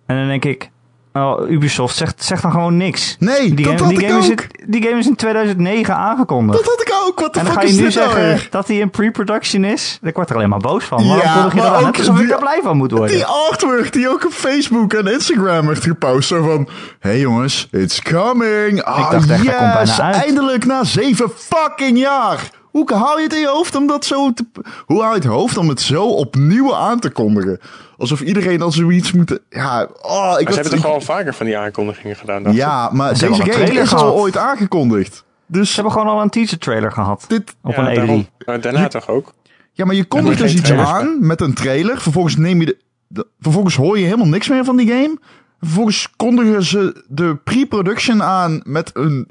Speaker 1: En dan denk ik, oh, Ubisoft zegt, zegt dan gewoon niks.
Speaker 2: Nee,
Speaker 1: Die
Speaker 2: dat
Speaker 1: game,
Speaker 2: had
Speaker 1: die
Speaker 2: ik
Speaker 1: game is
Speaker 2: ook.
Speaker 1: in- die game is in 2009 aangekondigd.
Speaker 2: Dat had ik ook. Wat de
Speaker 1: en dan
Speaker 2: fuck
Speaker 1: ga je
Speaker 2: is
Speaker 1: nu
Speaker 2: dit nou
Speaker 1: zeggen
Speaker 2: weer?
Speaker 1: dat hij in pre-production is. Ik word er alleen maar boos van.
Speaker 2: Ja,
Speaker 1: Waarom kondig je dat
Speaker 2: maar
Speaker 1: aan?
Speaker 2: ook
Speaker 1: Het is alsof ik
Speaker 2: die-
Speaker 1: daar blij van moet worden.
Speaker 2: Die artwork die ook op Facebook en Instagram werd gepost. Zo van, hey jongens, it's coming. Ah,
Speaker 1: dacht echt, hij komt
Speaker 2: yes,
Speaker 1: bijna uit.
Speaker 2: eindelijk na zeven fucking jaar. Hoe haal je het in je hoofd om dat zo te... Hoe haal je het hoofd om het zo opnieuw aan te kondigen? Alsof iedereen al zoiets moet... Ja, oh, ik
Speaker 3: Maar ze hebben
Speaker 2: had-
Speaker 3: toch al vaker van die aankondigingen gedaan? dacht ik?
Speaker 2: Ja, maar
Speaker 1: hebben
Speaker 2: deze
Speaker 1: al een
Speaker 2: game
Speaker 1: trailer
Speaker 2: is al
Speaker 1: gehad.
Speaker 2: ooit aangekondigd.
Speaker 1: Ze
Speaker 2: Dus
Speaker 1: hebben gewoon al een teaser trailer gehad.
Speaker 2: dit...
Speaker 1: Op
Speaker 3: Ja,
Speaker 1: een E3.
Speaker 3: daarom. Maar daarna toch ook?
Speaker 2: Ja, maar je kondigt
Speaker 3: moet
Speaker 2: dus
Speaker 3: geen
Speaker 2: iets
Speaker 3: trailers
Speaker 2: aan met een trailer. Vervolgens neem je de, de- Vervolgens hoor je helemaal niks meer van die game. Vervolgens kondigen ze de pre-production aan met een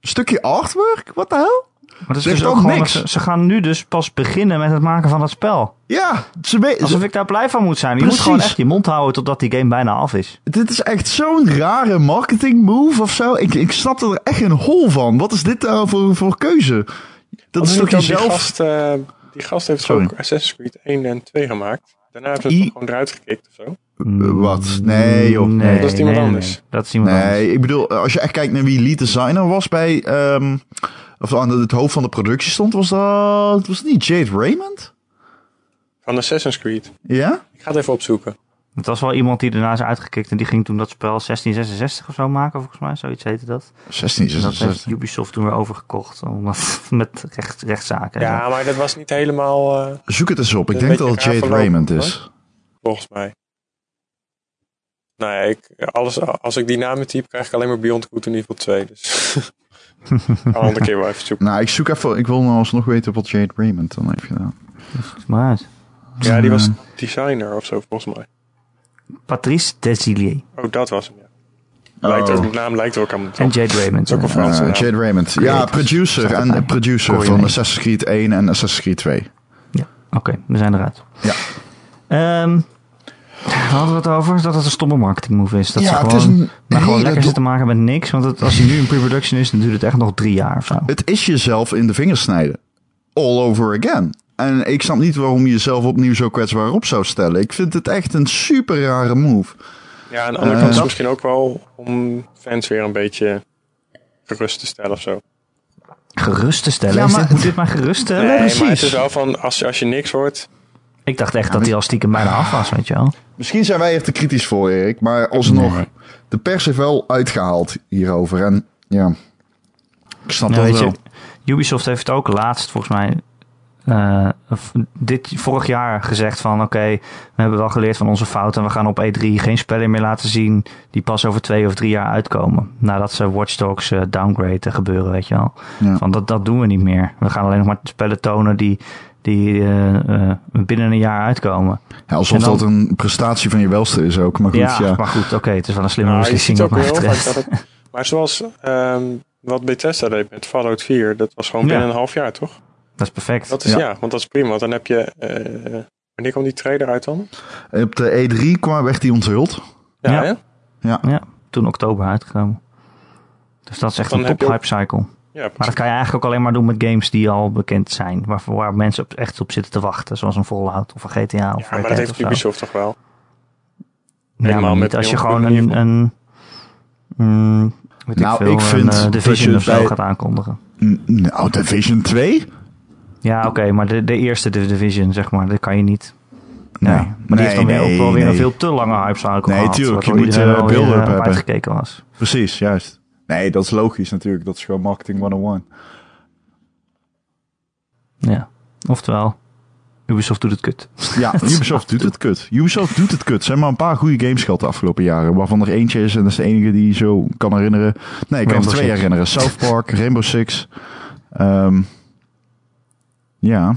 Speaker 2: stukje artwork. Wat de hel?
Speaker 1: Maar dat is
Speaker 2: Zegt
Speaker 1: dus
Speaker 2: ook
Speaker 1: ook gewoon,
Speaker 2: niks.
Speaker 1: ze, ze gaan nu dus pas beginnen met het maken van dat spel.
Speaker 2: Ja, ze we-
Speaker 1: Alsof
Speaker 2: ze-
Speaker 1: ik daar blij van moet zijn. Je
Speaker 2: Precies.
Speaker 1: moet gewoon echt je mond houden totdat die game bijna af is.
Speaker 2: dit is echt zo'n rare marketing move of zo. Ik, ik snapte er echt een hol van. Wat is dit nou voor, voor keuze? Dat
Speaker 3: Want
Speaker 2: is
Speaker 3: nu
Speaker 2: toch
Speaker 3: ook Die
Speaker 2: jezelf...
Speaker 3: gast, eh, die gast heeft
Speaker 2: Sorry.
Speaker 3: ook Assassin's Creed 1 en 2 gemaakt. Daarna hebben ze
Speaker 2: I-
Speaker 3: het gewoon eruit gekikt of zo.
Speaker 2: Eh, Wat? Nee joh.
Speaker 3: dat is iemand anders.
Speaker 1: nee. Dat is iemand anders.
Speaker 2: Nee, ik bedoel, eh, als je echt kijkt naar wie lead designer was bij... ehm, of aan het hoofd van de productie stond, was dat... Was het niet Jade Raymond?
Speaker 3: Van Assassin's Creed.
Speaker 2: Ja?
Speaker 3: Ik ga het even opzoeken.
Speaker 1: Het was wel iemand die daarna is uitgekikt en die ging toen dat spel 1666 of zo maken, volgens mij. Zoiets heette dat.
Speaker 2: 16,
Speaker 1: En dat heeft
Speaker 2: 16.
Speaker 1: Ubisoft toen weer overgekocht, omdat, met recht, rechtszaken. en
Speaker 3: Ja, maar dat was niet helemaal eh,
Speaker 2: Zoek het eens op. Ik
Speaker 3: Een
Speaker 2: denk dat
Speaker 3: beetje
Speaker 2: het Jade
Speaker 3: raar
Speaker 2: Raymond
Speaker 3: verlopen,
Speaker 2: is.
Speaker 3: volgens mij. Nou ja, ik, alles, als ik die namen typ, krijg ik alleen maar Beyond Good in Evil 2. Dus gaan we een andere keer wel even zoeken.
Speaker 2: Nou, ik zoek even. Ik wil nou alsnog weten wat Jade Raymond dan heeft gedaan.
Speaker 1: zo. Maar uit.
Speaker 3: Ja, die was
Speaker 2: Eh,
Speaker 3: designer of zo, volgens mij.
Speaker 1: Patrice Desilliers
Speaker 3: Oh, dat was hem, ja. Lijkt ook,
Speaker 2: oh,
Speaker 3: de naam lijkt ook aan elkaar.
Speaker 1: en Jade Raymond.
Speaker 3: ook een
Speaker 1: Ja.
Speaker 2: eh,
Speaker 3: Franse naam.
Speaker 2: Jade Raymond. Ja,
Speaker 1: Creative.
Speaker 2: producer
Speaker 1: Staat
Speaker 2: en
Speaker 1: erbij.
Speaker 2: producer
Speaker 1: Kon nou. je
Speaker 2: van
Speaker 1: mee.
Speaker 2: Assassin's Creed 1 en Assassin's Creed 2.
Speaker 1: Oké, we zijn eruit.
Speaker 2: Ja.
Speaker 1: Ehm, we hadden we het over dat het een stomme marketing move is. Dat
Speaker 2: Ja,
Speaker 1: ze
Speaker 2: het
Speaker 1: gewoon,
Speaker 2: is een
Speaker 1: maar gewoon
Speaker 2: hele
Speaker 1: lekker
Speaker 2: do-
Speaker 1: zitten maken met niks. Want het- als hij nu in pre-production is, dan duurt het echt nog drie jaar of zo.
Speaker 2: Het is jezelf in de vingers snijden. All over again. En ik snap niet waarom je jezelf opnieuw zo kwetsbaar op zou stellen. Ik vind het echt een super rare move.
Speaker 3: Ja, aan de andere
Speaker 2: Eh,
Speaker 3: kant is
Speaker 2: dat-
Speaker 3: het misschien ook wel om fans weer een beetje gerust te stellen of zo.
Speaker 1: Gerust te stellen.
Speaker 2: Ja,
Speaker 1: Is
Speaker 2: maar-
Speaker 1: dit, moet dit maar gerust stellen?
Speaker 3: nee, maar het
Speaker 2: precies.
Speaker 3: is wel van, als, je- als je niks hoort...
Speaker 1: Ik dacht echt dat hij al stiekem bijna af was, weet je wel.
Speaker 2: Misschien zijn wij er te kritisch voor, Erik. Maar alsnog, de pers heeft wel uitgehaald hierover. En ja, ik snap
Speaker 1: Ja,
Speaker 2: dat
Speaker 1: weet
Speaker 2: wel.
Speaker 1: je, Ubisoft heeft ook laatst volgens mij eh, of dit vorig jaar gezegd van oké, we hebben wel geleerd van onze fouten. We gaan op E3 geen spellen meer laten zien die pas over twee of drie jaar uitkomen. Nadat ze Watch Dogs eh, downgrade eh, gebeuren, weet je wel.
Speaker 2: Ja.
Speaker 1: Van dat, dat doen we niet meer. We gaan alleen nog maar spellen tonen die, die eh, eh, binnen een jaar uitkomen.
Speaker 2: Ja, alsof
Speaker 1: En dan-
Speaker 2: dat een prestatie van je welste is ook. Maar goed, ja.
Speaker 1: ja, maar goed, oké, het is wel een slimme
Speaker 3: Nou, je
Speaker 1: beslissing
Speaker 3: ziet
Speaker 1: wat
Speaker 3: ook
Speaker 1: mij
Speaker 3: heel vaak dat
Speaker 1: betreft.
Speaker 3: het... Maar zoals ehm, wat Bethesda deed met Fallout 4, dat was gewoon
Speaker 1: Ja.
Speaker 3: binnen een half jaar, toch?
Speaker 1: Dat is perfect.
Speaker 3: Dat is
Speaker 2: Ja.
Speaker 3: ja, want dat is prima. Want dan heb je... eh, wanneer kwam die trailer uit dan?
Speaker 2: Op de E3 kwam, werd die onthuld.
Speaker 3: Ja,
Speaker 1: Ja.
Speaker 3: hè?
Speaker 1: Ja, toen oktober uitgekomen. Dus dat is echt
Speaker 3: Dan
Speaker 1: een
Speaker 3: heb je
Speaker 1: top
Speaker 3: ook-
Speaker 1: hype cycle.
Speaker 3: ja
Speaker 1: Maar
Speaker 3: precies.
Speaker 1: dat kan je eigenlijk ook alleen maar doen met games die al bekend zijn. Waar, waar mensen op, echt op zitten te wachten. Zoals een Fallout of een GTA of
Speaker 3: Ja, maar dat
Speaker 1: Red Dead
Speaker 3: heeft
Speaker 1: of zo.
Speaker 3: Ubisoft toch wel?
Speaker 1: Ja,
Speaker 3: helemaal
Speaker 1: maar
Speaker 3: met
Speaker 1: niet als je
Speaker 3: heel
Speaker 1: gewoon
Speaker 3: goed
Speaker 1: een...
Speaker 3: niveau.
Speaker 1: een mm, weet
Speaker 2: Nou,
Speaker 1: ik, veel,
Speaker 2: ik vind
Speaker 1: een, eh,
Speaker 2: dat
Speaker 1: Division
Speaker 2: je
Speaker 1: of zo
Speaker 2: bij-
Speaker 1: gaat aankondigen.
Speaker 2: N- Nou, Division 2?
Speaker 1: Ja, oké, maar de, de eerste de Division, zeg maar, dat kan je niet. Nee,
Speaker 2: Nee.
Speaker 1: maar die heeft dan
Speaker 2: Nou, Nee,
Speaker 1: weer ook
Speaker 2: nee,
Speaker 1: wel weer een
Speaker 2: nee.
Speaker 1: veel te lange hype cycle
Speaker 2: Nee,
Speaker 1: gehad,
Speaker 2: tuurlijk, je
Speaker 1: waardoor
Speaker 2: moet,
Speaker 1: iedereen
Speaker 2: eh,
Speaker 1: wel weer,
Speaker 2: build-up
Speaker 1: eh, op
Speaker 2: hebben.
Speaker 1: uitgekeken was.
Speaker 2: Precies, juist. Nee, dat is logisch natuurlijk. Dat is gewoon marketing 101.
Speaker 1: Ja, oftewel, Ubisoft doet het kut.
Speaker 2: Ja, Ubisoft doet het kut. Ubisoft doet het kut. Ze hebben maar een paar goede games gehad de afgelopen jaren. Waarvan er eentje is en dat is de enige die je zo kan herinneren. Nee, ik kan er
Speaker 1: Rainbow
Speaker 2: twee
Speaker 1: Six.
Speaker 2: herinneren. South Park, Rainbow Six. Ehm, ja.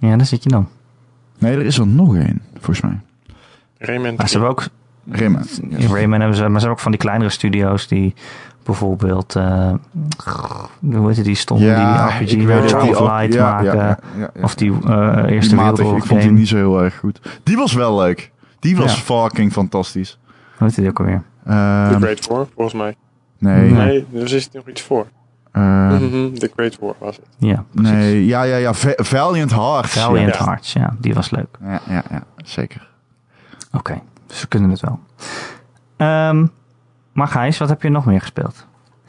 Speaker 1: Ja, daar zit je dan.
Speaker 2: Nee, er is er nog één, volgens mij.
Speaker 3: Rayman
Speaker 1: Maar ze
Speaker 3: 3.
Speaker 1: hebben ook
Speaker 2: Rimmen.
Speaker 1: In Dus Rayman hebben ze, maar ze hebben ook van die kleinere studio's die bijvoorbeeld, eh, hoe heet het, die stom,
Speaker 2: Ja,
Speaker 1: die
Speaker 2: ik
Speaker 1: RPG
Speaker 2: weet
Speaker 1: Ray
Speaker 2: dat die
Speaker 1: of
Speaker 2: ook-
Speaker 1: Light
Speaker 2: ja, ja,
Speaker 1: maken.
Speaker 2: ja, ja, ja.
Speaker 1: Of die eh, Eerste
Speaker 2: Die matig.
Speaker 1: Wereldoorlog
Speaker 2: Ik vond die
Speaker 1: game.
Speaker 2: niet zo heel erg goed. Die was wel leuk. Die was fucking fantastisch.
Speaker 1: Hoe heet die ook alweer?
Speaker 3: The
Speaker 2: Ehm,
Speaker 3: Great War, volgens mij.
Speaker 2: nee.
Speaker 1: Ja.
Speaker 3: Nee, er zit nog iets voor.
Speaker 2: ehm,
Speaker 3: Mhm, The Great War was het.
Speaker 1: Ja, precies.
Speaker 2: nee. Ja, ja, ja. Va- Valiant Hearts.
Speaker 1: Valiant
Speaker 3: Ja.
Speaker 1: Hearts, ja, die was leuk.
Speaker 2: Ja, ja, ja. Zeker.
Speaker 1: Oké, dus we kunnen het wel. Ehm, maar Gijs, wat heb je nog meer gespeeld?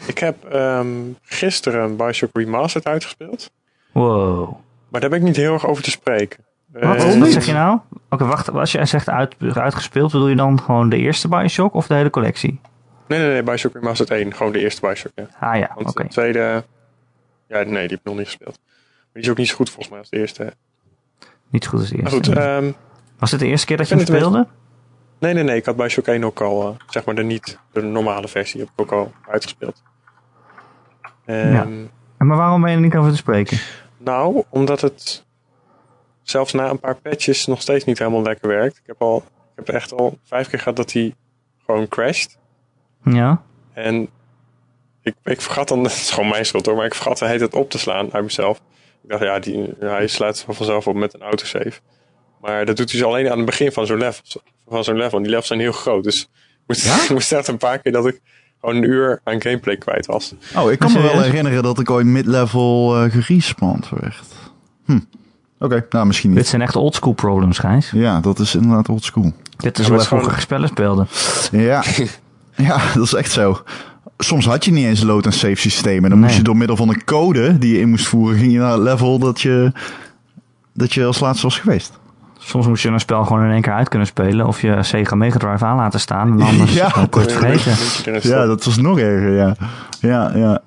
Speaker 3: Ik heb ehm, gisteren Bioshock Remastered uitgespeeld.
Speaker 1: Wow.
Speaker 3: Maar daar ben ik niet heel erg over te spreken.
Speaker 1: Wat,
Speaker 2: oh,
Speaker 3: Eh,
Speaker 1: wat zeg je nou? Oké, wacht. Als je zegt uit, uitgespeeld, bedoel je dan gewoon de eerste Bioshock of de hele collectie?
Speaker 3: Nee, nee, nee, Bioshock Remastered 1. Gewoon de eerste Bioshock, ja.
Speaker 1: Ah ja, oké.
Speaker 3: Want de tweede... Ja, nee, die heb ik nog niet gespeeld. Maar die is ook niet zo goed volgens mij als de eerste.
Speaker 1: Niet zo goed als de
Speaker 3: Maar
Speaker 1: eerste.
Speaker 3: goed, ehm,
Speaker 1: was dit de eerste keer dat je
Speaker 3: ik
Speaker 1: hem
Speaker 3: vind het een
Speaker 1: speelde?
Speaker 3: nee, nee, nee. Ik had Bioshock 1 ook al, eh, zeg maar de niet, de normale versie, heb ik ook al uitgespeeld. Ehm,
Speaker 1: Maar waarom ben je er niet over te spreken?
Speaker 3: Nou, omdat het zelfs na een paar patches nog steeds niet helemaal lekker werkt. Ik heb, al, ik heb echt al vijf keer gehad dat hij gewoon crasht.
Speaker 1: Ja.
Speaker 3: En ik, ik vergat dan, het is gewoon mijn schuld hoor, maar ik vergat de hele tijd op te slaan uit mezelf. Ik dacht, ja, die, hij slaat vanzelf op met een autosave. Maar dat doet hij dus alleen aan het begin van zo'n level. Van zo'n level. En die levels zijn heel groot, dus ik moest, ik moest echt een paar keer dat ik gewoon een uur aan gameplay kwijt was.
Speaker 2: Oh, ik kan me wel
Speaker 1: Serieus?
Speaker 2: herinneren dat ik ooit mid-level eh gerespawnd werd. Hm. Oké, nou misschien
Speaker 1: Dit
Speaker 2: niet.
Speaker 1: zijn echt oldschool problems, Gijs.
Speaker 2: Ja, dat is inderdaad oldschool.
Speaker 1: Dit is hoe
Speaker 3: Ja,
Speaker 1: wij
Speaker 3: maar het is
Speaker 1: vroeger spellen speelden.
Speaker 2: Ja. ja, dat is echt zo. Soms had je niet eens load en save systemen. Dan moest
Speaker 1: Nee.
Speaker 2: je door middel van een code die je in moest voeren, ging je naar het level dat je, dat je als laatste was geweest.
Speaker 1: Soms moet je een spel gewoon in één keer uit kunnen spelen. Of je Sega Mega Drive aan laten staan. En anders
Speaker 2: Ja.
Speaker 1: ja. kort
Speaker 3: Moet je-
Speaker 1: vergeten.
Speaker 3: moet je erin
Speaker 2: Ja,
Speaker 3: stoppen.
Speaker 2: dat was nog erger, ja. Ja, ja.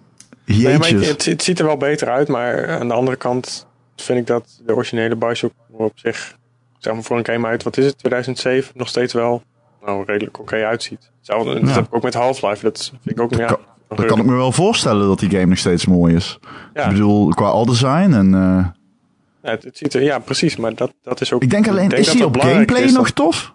Speaker 3: Nee, maar ik-
Speaker 2: Jeetjes.
Speaker 3: het, het ziet er wel beter uit, maar aan de andere kant vind ik dat de originele Bioshock op zich, zeg maar voor een game uit, wat is het, 2007, nog steeds wel nou, redelijk oké uitziet. Hetzelfde- Dat
Speaker 1: Ja.
Speaker 3: heb ik ook met Half-Life, dat vind ik ook, ja,
Speaker 2: kan-
Speaker 3: een
Speaker 2: Dan
Speaker 3: ruk.
Speaker 2: kan ik me wel voorstellen dat die game nog steeds mooi is.
Speaker 3: Ja.
Speaker 2: Ik bedoel, qua al design en... eh,
Speaker 3: Ja, het, het ziet er, ja, precies, maar dat, dat is ook...
Speaker 2: ik denk alleen, is
Speaker 3: dat
Speaker 2: die
Speaker 3: het
Speaker 2: op
Speaker 3: belangrijk
Speaker 2: gameplay
Speaker 3: is dat-
Speaker 2: nog tof?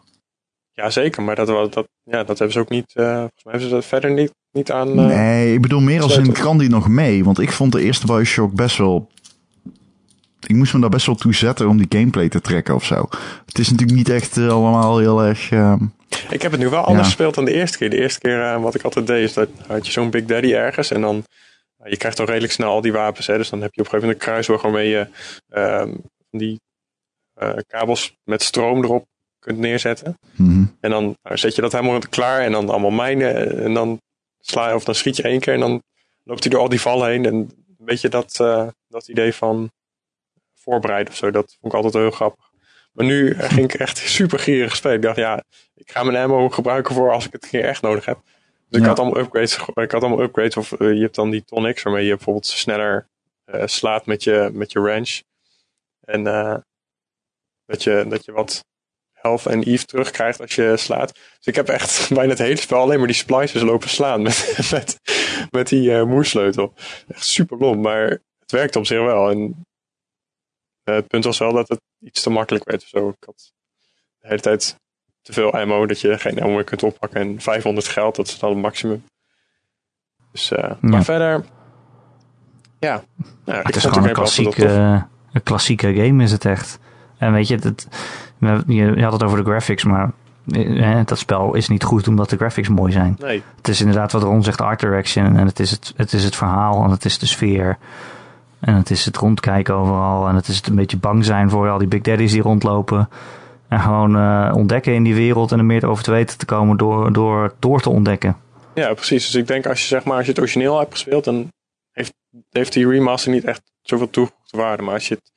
Speaker 3: Ja, zeker, maar dat, wel- dat, ja, dat hebben ze ook niet, eh, volgens mij hebben ze dat verder niet, niet aan... eh,
Speaker 2: Nee, ik bedoel meer als in
Speaker 3: Sleutel.
Speaker 2: kran die nog mee. Want ik vond de eerste Bioshock best wel... Ik moest me daar best wel toe zetten om die gameplay te trekken of zo. Het is natuurlijk niet echt eh, allemaal heel erg... ehm,
Speaker 3: Ik heb het nu wel anders
Speaker 2: Ja.
Speaker 3: gespeeld dan de eerste keer. De eerste keer eh, wat ik altijd deed is dat had je zo'n Big Daddy ergens en dan eh, je krijgt al redelijk snel al die wapens. Hè, dus dan heb je op een gegeven moment een kruisweg waarmee je ehm, van die eh, kabels met stroom erop kunt neerzetten.
Speaker 2: mhm.
Speaker 3: En dan nou, zet je dat helemaal klaar en dan allemaal mijnen eh, en dan sla je of dan schiet je één keer en dan loopt hij door al die vallen heen. En een beetje dat, eh, dat idee van voorbereid of zo, dat vond ik altijd heel grappig. Maar nu eh, ging ik echt super gierig spelen. Ik dacht, ja, ik ga mijn ammo gebruiken voor als ik het een keer echt nodig heb. Dus ik
Speaker 2: Ja.
Speaker 3: had allemaal upgrades. ge- Ik had allemaal upgrades. Of eh, je hebt dan die tonics waarmee je bijvoorbeeld sneller eh, slaat met je, met je wrench. En eh, dat, je, dat je wat health en eve terugkrijgt als je slaat. Dus ik heb echt bijna het hele spel alleen maar die splices lopen slaan met, met, met die eh, moersleutel. Echt super lomp, maar het werkte op zich wel. En eh, het punt was wel dat het iets te makkelijk werd. of Zo. Ik had de hele tijd te veel ammo dat je geen ammo meer kunt oppakken. En 500 geld, dat is dan het maximum. Dus, eh, Maar verder, ja. Nou, ik
Speaker 1: Het is
Speaker 3: vond
Speaker 1: gewoon
Speaker 3: de
Speaker 1: een eh,
Speaker 3: game altijd wel
Speaker 1: klassieke,
Speaker 3: tof.
Speaker 1: een klassieke game is het echt. En weet je, dat, we- je je had het over de graphics, maar eh, dat spel is niet goed omdat de graphics mooi zijn.
Speaker 3: Nee,
Speaker 1: Het is inderdaad wat Ron zegt, art direction. En het is het, het is het verhaal en het is de sfeer. En het is het rondkijken overal. En het is het een beetje bang zijn voor al die big daddies die rondlopen. En gewoon eh, ontdekken in die wereld en er meer over te weten te komen door, door, door te ontdekken.
Speaker 3: Ja, precies. Dus ik denk als je, zeg maar, als je het origineel hebt gespeeld, dan heeft, heeft die remaster niet echt zoveel toegevoegde waarde. Maar als je het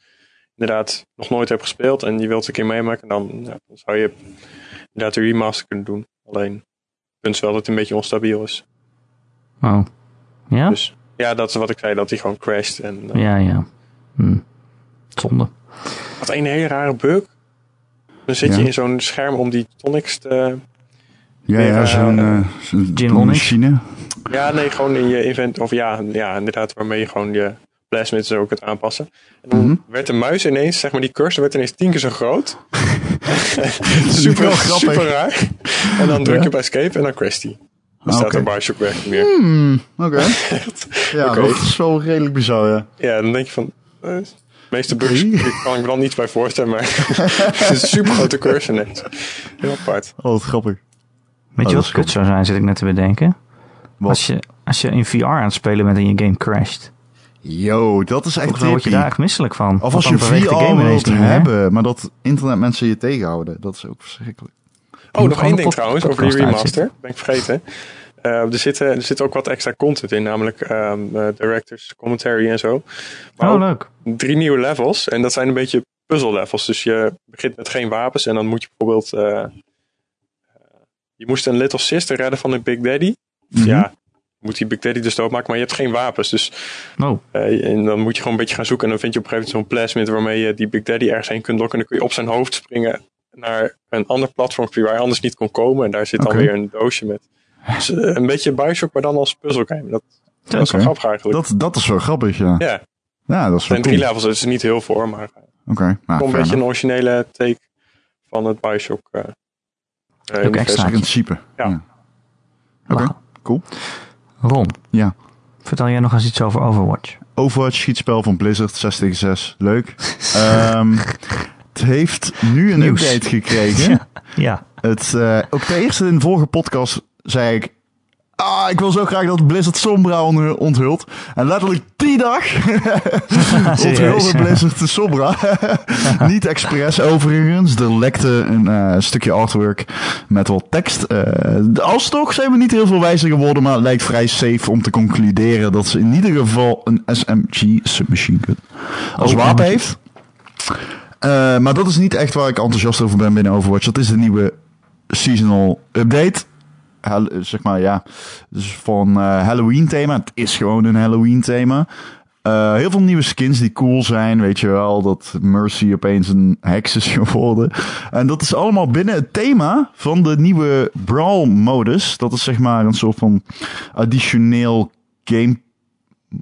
Speaker 3: inderdaad nog nooit hebt gespeeld en je wilt het een keer meemaken, dan, ja, dan zou je inderdaad de remaster kunnen doen. Alleen, het punt is wel dat het een beetje onstabiel is.
Speaker 1: Oh. Ja?
Speaker 3: Dus ja, dat is wat ik zei, dat hij gewoon crasht. En, eh,
Speaker 1: Ja, ja. Hm. Zonde.
Speaker 3: Wat een hele rare bug. Dan zit
Speaker 2: Ja.
Speaker 3: je in zo'n scherm om die tonics te...
Speaker 2: Ja,
Speaker 3: Weer,
Speaker 2: ja
Speaker 3: eh,
Speaker 2: zo'n eh, zo'n
Speaker 1: gin tonic.
Speaker 2: machine.
Speaker 3: Ja, nee, gewoon in je event. Of ja, ja inderdaad, waarmee je gewoon je plasmids ook kunt aanpassen. En
Speaker 1: Mhm.
Speaker 3: dan werd de muis ineens, zeg maar, die cursor werd ineens tien keer zo groot. super,
Speaker 2: Wel grappig.
Speaker 3: super raar. En dan druk je op escape en dan crasht die.
Speaker 1: Ah,
Speaker 3: Dan staat
Speaker 2: oké.
Speaker 3: de Bioshock weg niet meer.
Speaker 1: Hmm.
Speaker 2: Oké. Ja,
Speaker 3: Oké.
Speaker 2: dat is wel redelijk bizar, ja.
Speaker 3: Ja, dan denk je van... eh, de meeste bugs daar kan ik me dan niets bij voorstellen, maar het is een super grote cursor net. Heel apart.
Speaker 2: Oh, wat grappig.
Speaker 1: Weet
Speaker 2: Oh,
Speaker 1: je
Speaker 2: dat
Speaker 1: wat
Speaker 2: is
Speaker 1: kut zou zijn, zit ik net te bedenken?
Speaker 2: Wat?
Speaker 1: Als je, als je in VR aan het spelen bent en je game crasht.
Speaker 2: Yo, dat is
Speaker 1: Dan
Speaker 2: echt
Speaker 1: word je
Speaker 2: trippy.
Speaker 1: daar echt misselijk van.
Speaker 2: Of
Speaker 1: Want
Speaker 2: als je
Speaker 1: dan beweegt
Speaker 2: VR
Speaker 1: de game ineens
Speaker 2: wilt
Speaker 1: niet meer.
Speaker 2: hebben, maar dat internetmensen je tegenhouden. Dat is ook verschrikkelijk.
Speaker 3: Oh,
Speaker 1: moet
Speaker 3: nog
Speaker 1: gewoon
Speaker 3: één
Speaker 1: de
Speaker 3: ding
Speaker 1: pod-
Speaker 3: trouwens over die
Speaker 1: podcast
Speaker 3: remaster. Ben ik vergeten. Eh, er, zitten, er zit ook wat extra content in, namelijk ehm, eh, directors, commentary en zo. Maar
Speaker 1: Oh,
Speaker 3: ook
Speaker 1: leuk.
Speaker 3: drie nieuwe levels. En dat zijn een beetje puzzle levels. Dus je begint met geen wapens en dan moet je bijvoorbeeld... eh, eh, je moest een Little Sister redden van een Big Daddy.
Speaker 2: Mhm.
Speaker 3: Ja, moet die Big Daddy dus doodmaken, maar je hebt geen wapens. Dus
Speaker 1: Oh,
Speaker 3: eh, en dan moet je gewoon een beetje gaan zoeken. En dan vind je op een gegeven moment zo'n plasmid waarmee je die Big Daddy ergens heen kunt lokken. En dan kun je op zijn hoofd springen naar een ander platform waar je anders niet kon komen. En daar zit
Speaker 2: Oké.
Speaker 3: dan weer een doosje met. Dus, eh, een beetje Bioshock, maar dan als puzzelgame. Dat, dat is
Speaker 2: Oké.
Speaker 3: wel grappig eigenlijk.
Speaker 2: Dat, dat is wel grappig, ja.
Speaker 3: ja, het
Speaker 2: Ja, dat is wel
Speaker 3: zijn drie
Speaker 2: cool. Oké,
Speaker 3: levels, dat is er niet heel voor. Maar
Speaker 2: nou,
Speaker 3: eh, wel een
Speaker 2: fair
Speaker 3: beetje
Speaker 2: enough.
Speaker 3: een originele take van het Bioshock. eh, eh, universum.
Speaker 1: extra.
Speaker 2: In principe.
Speaker 3: Ja.
Speaker 2: Oké,
Speaker 1: Lachen.
Speaker 2: cool.
Speaker 1: Ron,
Speaker 2: Ja.
Speaker 1: vertel jij nog eens iets over Overwatch?
Speaker 2: Overwatch schietspel van Blizzard, 6 tegen 6. Leuk. Ehm, het heeft nu een
Speaker 1: Nieuws.
Speaker 2: update gekregen.
Speaker 1: Ja.
Speaker 2: Het, eh, ook de eerste in de vorige podcast zei ik... Ah, ik wil zo graag dat Blizzard Sombra on- onthult. En letterlijk die dag onthulde Blizzard de Sombra. Niet expres overigens. Er lekte een eh, stukje artwork met wat tekst. Eh alsnog zijn we niet heel veel wijzer geworden, maar het lijkt vrij safe om te concluderen dat ze in ieder geval een SMG submachine gun als
Speaker 1: Oh,
Speaker 2: wapen
Speaker 1: en-
Speaker 2: heeft. Eh, maar dat is niet echt waar ik enthousiast over ben binnen Overwatch. Dat is de nieuwe seasonal update. Hel- eh, zeg maar, ja. Dus van eh, Halloween thema. Het is gewoon een Halloween thema. Eh, heel veel nieuwe skins die cool zijn. Weet je wel, dat Mercy opeens een heks is geworden. En dat is allemaal binnen het thema van de nieuwe Brawl-modus. Dat is zeg maar een soort van additioneel game...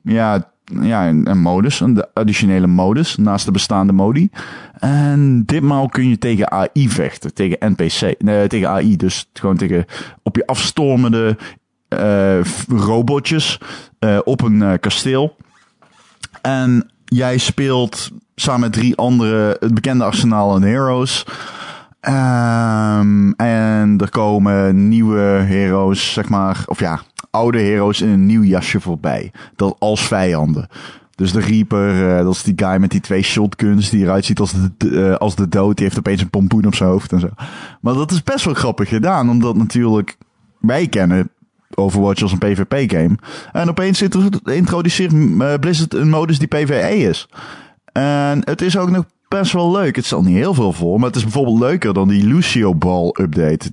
Speaker 2: Ja, ja een, een modus. Een additionele modus naast de bestaande modi. En ditmaal kun je tegen AI vechten. Tegen NPC. Nee, tegen AI. Dus gewoon tegen op je afstormende eh, f- robotjes eh, op een eh, kasteel. En jij speelt samen met drie andere het bekende arsenaal aan heroes. Ehm, en er komen nieuwe heroes, zeg maar, of ja, oude heroes in een nieuw jasje voorbij. Dat als vijanden. Dus de Reaper, eh, dat is die guy met die twee shotguns die eruit ziet als de, eh, als de dood. Die heeft opeens een pompoen op zijn hoofd en zo. Maar dat is best wel grappig gedaan, omdat natuurlijk wij kennen Overwatch als een PvP-game. En opeens intro- introduceert eh, Blizzard een modus die PvE is. En het is ook nog best wel leuk. Het stelt niet heel veel voor, maar het is bijvoorbeeld leuker dan die Lucio Ball-update.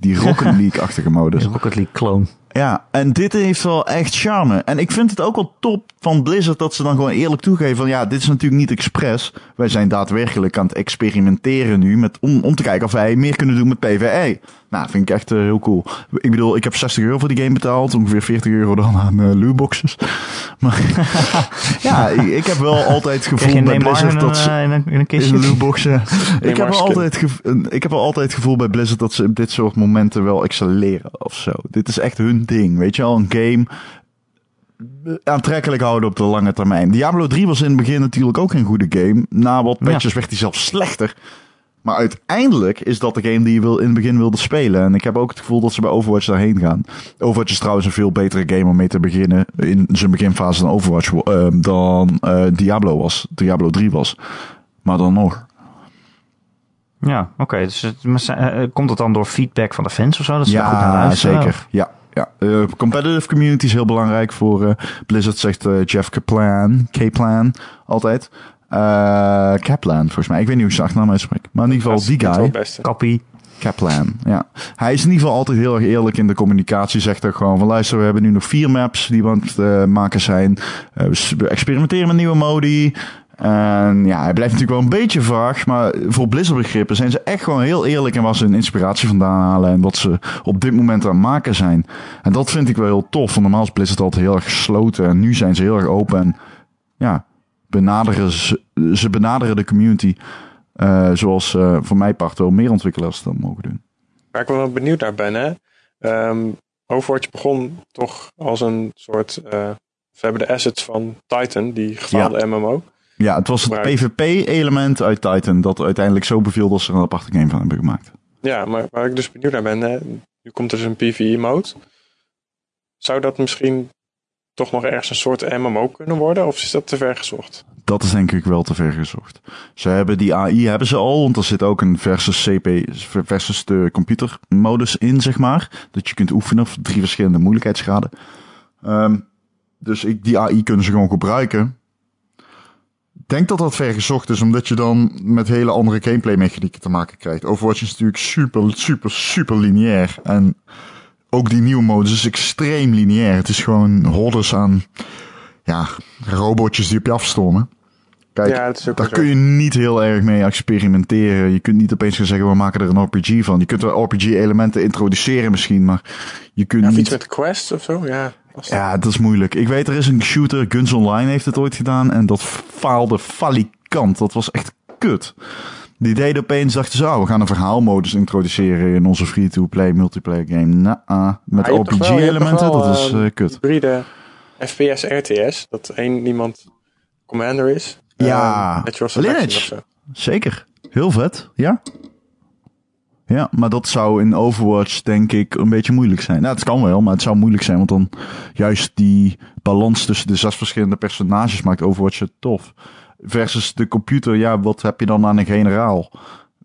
Speaker 2: Die Rocket League-achtige modus.
Speaker 1: Dus Rocket League clone.
Speaker 2: Ja, en dit heeft wel echt charme. En ik vind het ook wel top van Blizzard dat ze dan gewoon eerlijk toegeven van ja, dit is natuurlijk niet expres. Wij zijn daadwerkelijk aan het experimenteren nu met, om, om te kijken of wij meer kunnen doen met PvE. Nou, vind ik echt eh, heel cool. Ik bedoel, ik heb 60 euro voor die game betaald, ongeveer 40 euro dan aan eh lootboxes. Maar ja, ik, ik heb wel altijd het
Speaker 1: Krijg je
Speaker 2: gevoel
Speaker 1: Neymar
Speaker 2: bij Blizzard
Speaker 1: in een,
Speaker 2: dat ze...
Speaker 1: eh, in een, in een
Speaker 2: In
Speaker 1: kistje?
Speaker 2: een lootbox, ja. ik, heb
Speaker 3: maar
Speaker 2: wel
Speaker 3: skin.
Speaker 2: altijd gev- een- ik heb wel altijd het gevoel bij Blizzard dat ze op dit soort momenten wel excelleren of zo. Dit is echt hun ding, weet je wel. Een game aantrekkelijk houden op de lange termijn. Diablo 3 was in het begin natuurlijk ook een goede game. Na wat
Speaker 1: Ja.
Speaker 2: patches werd hij zelfs slechter. Maar uiteindelijk is dat de game die je wil, in het begin wilde spelen. En ik heb ook het gevoel dat ze bij Overwatch daarheen gaan. Overwatch is trouwens een veel betere game om mee te beginnen. In zijn beginfase dan Overwatch wa- eh, dan eh, Diablo was. Diablo 3 was. Maar dan nog.
Speaker 1: Ja, oké. dus het- maar zijn- eh, eh, komt dat dan door feedback van de fans of zo? Dat ze daar goed naar luisteren? Oh,
Speaker 2: zeker. Ja, ja. Eh, competitive community is heel belangrijk voor eh, Blizzard, zegt eh, Jeff Kaplan. Kaplan, altijd. Eh, Kaplan, volgens mij. Ik weet niet hoe ik zijn achternaam uitspreek. Maar in ieder
Speaker 3: Dat
Speaker 2: geval
Speaker 3: is
Speaker 2: die
Speaker 3: niet
Speaker 2: guy.
Speaker 3: wel het beste.
Speaker 1: Kappie.
Speaker 2: Kaplan, ja. Hij is in ieder geval altijd heel erg eerlijk in de communicatie. Zegt ook gewoon van luister, we hebben nu nog vier maps die we aan het eh, maken zijn. Eh, we s- we experimenteren met nieuwe modi. En ja, hij blijft natuurlijk wel een beetje vaag. Maar voor Blizzard begrippen zijn ze echt gewoon heel eerlijk in waar ze hun inspiratie vandaan halen. En wat ze op dit moment aan het maken zijn. En dat vind ik wel heel tof. Want normaal is Blizzard altijd heel erg gesloten. En nu zijn ze heel erg open. En ja, benaderen ze, ze benaderen de community. eh, zoals eh, voor mijn part wel meer ontwikkelaars dat mogen doen.
Speaker 3: Waar ik wel benieuwd naar ben, hè. Ehm, Overwatch begon toch als een soort... eh, we hebben de assets van Titan, die gefaalde MMO.
Speaker 2: Ja, het was het
Speaker 3: Gebruik.
Speaker 2: PvP-element uit Titan dat uiteindelijk zo beviel dat ze er een aparte game van hebben gemaakt.
Speaker 3: Ja, maar waar ik dus benieuwd naar ben, hè, nu komt er dus een PvE-mode. Zou dat misschien toch nog ergens een soort MMO kunnen worden? Of is dat te ver gezocht?
Speaker 2: Dat is denk ik wel te ver gezocht. Ze hebben die AI hebben ze al, want er zit ook een versus CP versus de computermodus in, zeg maar. Dat je kunt oefenen op drie verschillende moeilijkheidsgraden. Ehm, dus ik, die AI kunnen ze gewoon gebruiken. Ik denk dat dat ver gezocht is, omdat je dan met hele andere gameplay mechanieken te maken krijgt. Overwatch is natuurlijk super, super, super lineair. En ook die nieuwe modus is extreem lineair. Het is gewoon hordes aan ja, robotjes die op je afstormen. Kijk,
Speaker 3: ja, dat is ook
Speaker 2: daar
Speaker 3: zo.
Speaker 2: kun je niet heel erg mee experimenteren. Je kunt niet opeens gaan zeggen, we maken er een RPG van. Je kunt er RPG-elementen introduceren misschien, maar je kunt
Speaker 3: Ja, of
Speaker 2: Nou, niet...
Speaker 3: iets met quests of zo? Ja, lastig.
Speaker 2: Ja, dat is moeilijk. Ik weet, er is een shooter, Guns Online heeft het ooit gedaan, en dat faalde falikant. Dat was echt kut. Die deden opeens, dachten ze, oh, we gaan een verhaalmodus introduceren in onze free-to-play multiplayer game. Nou, met
Speaker 3: Maar je hebt toch wel- je hebt
Speaker 2: RPG-elementen,
Speaker 3: toch wel,
Speaker 2: dat is
Speaker 3: eh,
Speaker 2: eh, kut.
Speaker 3: Hybride FPS RTS, dat één iemand commander is.
Speaker 2: Ja,
Speaker 3: Eh, Natural Selection
Speaker 2: Lineage.
Speaker 3: of zo.
Speaker 2: Zeker. Heel vet, ja. Ja, maar dat zou in Overwatch denk ik een beetje moeilijk zijn. Nou, het kan wel, maar het zou moeilijk zijn. Want dan juist die balans tussen de zes verschillende personages maakt Overwatch het tof. Versus de computer, ja, wat heb je dan aan een generaal?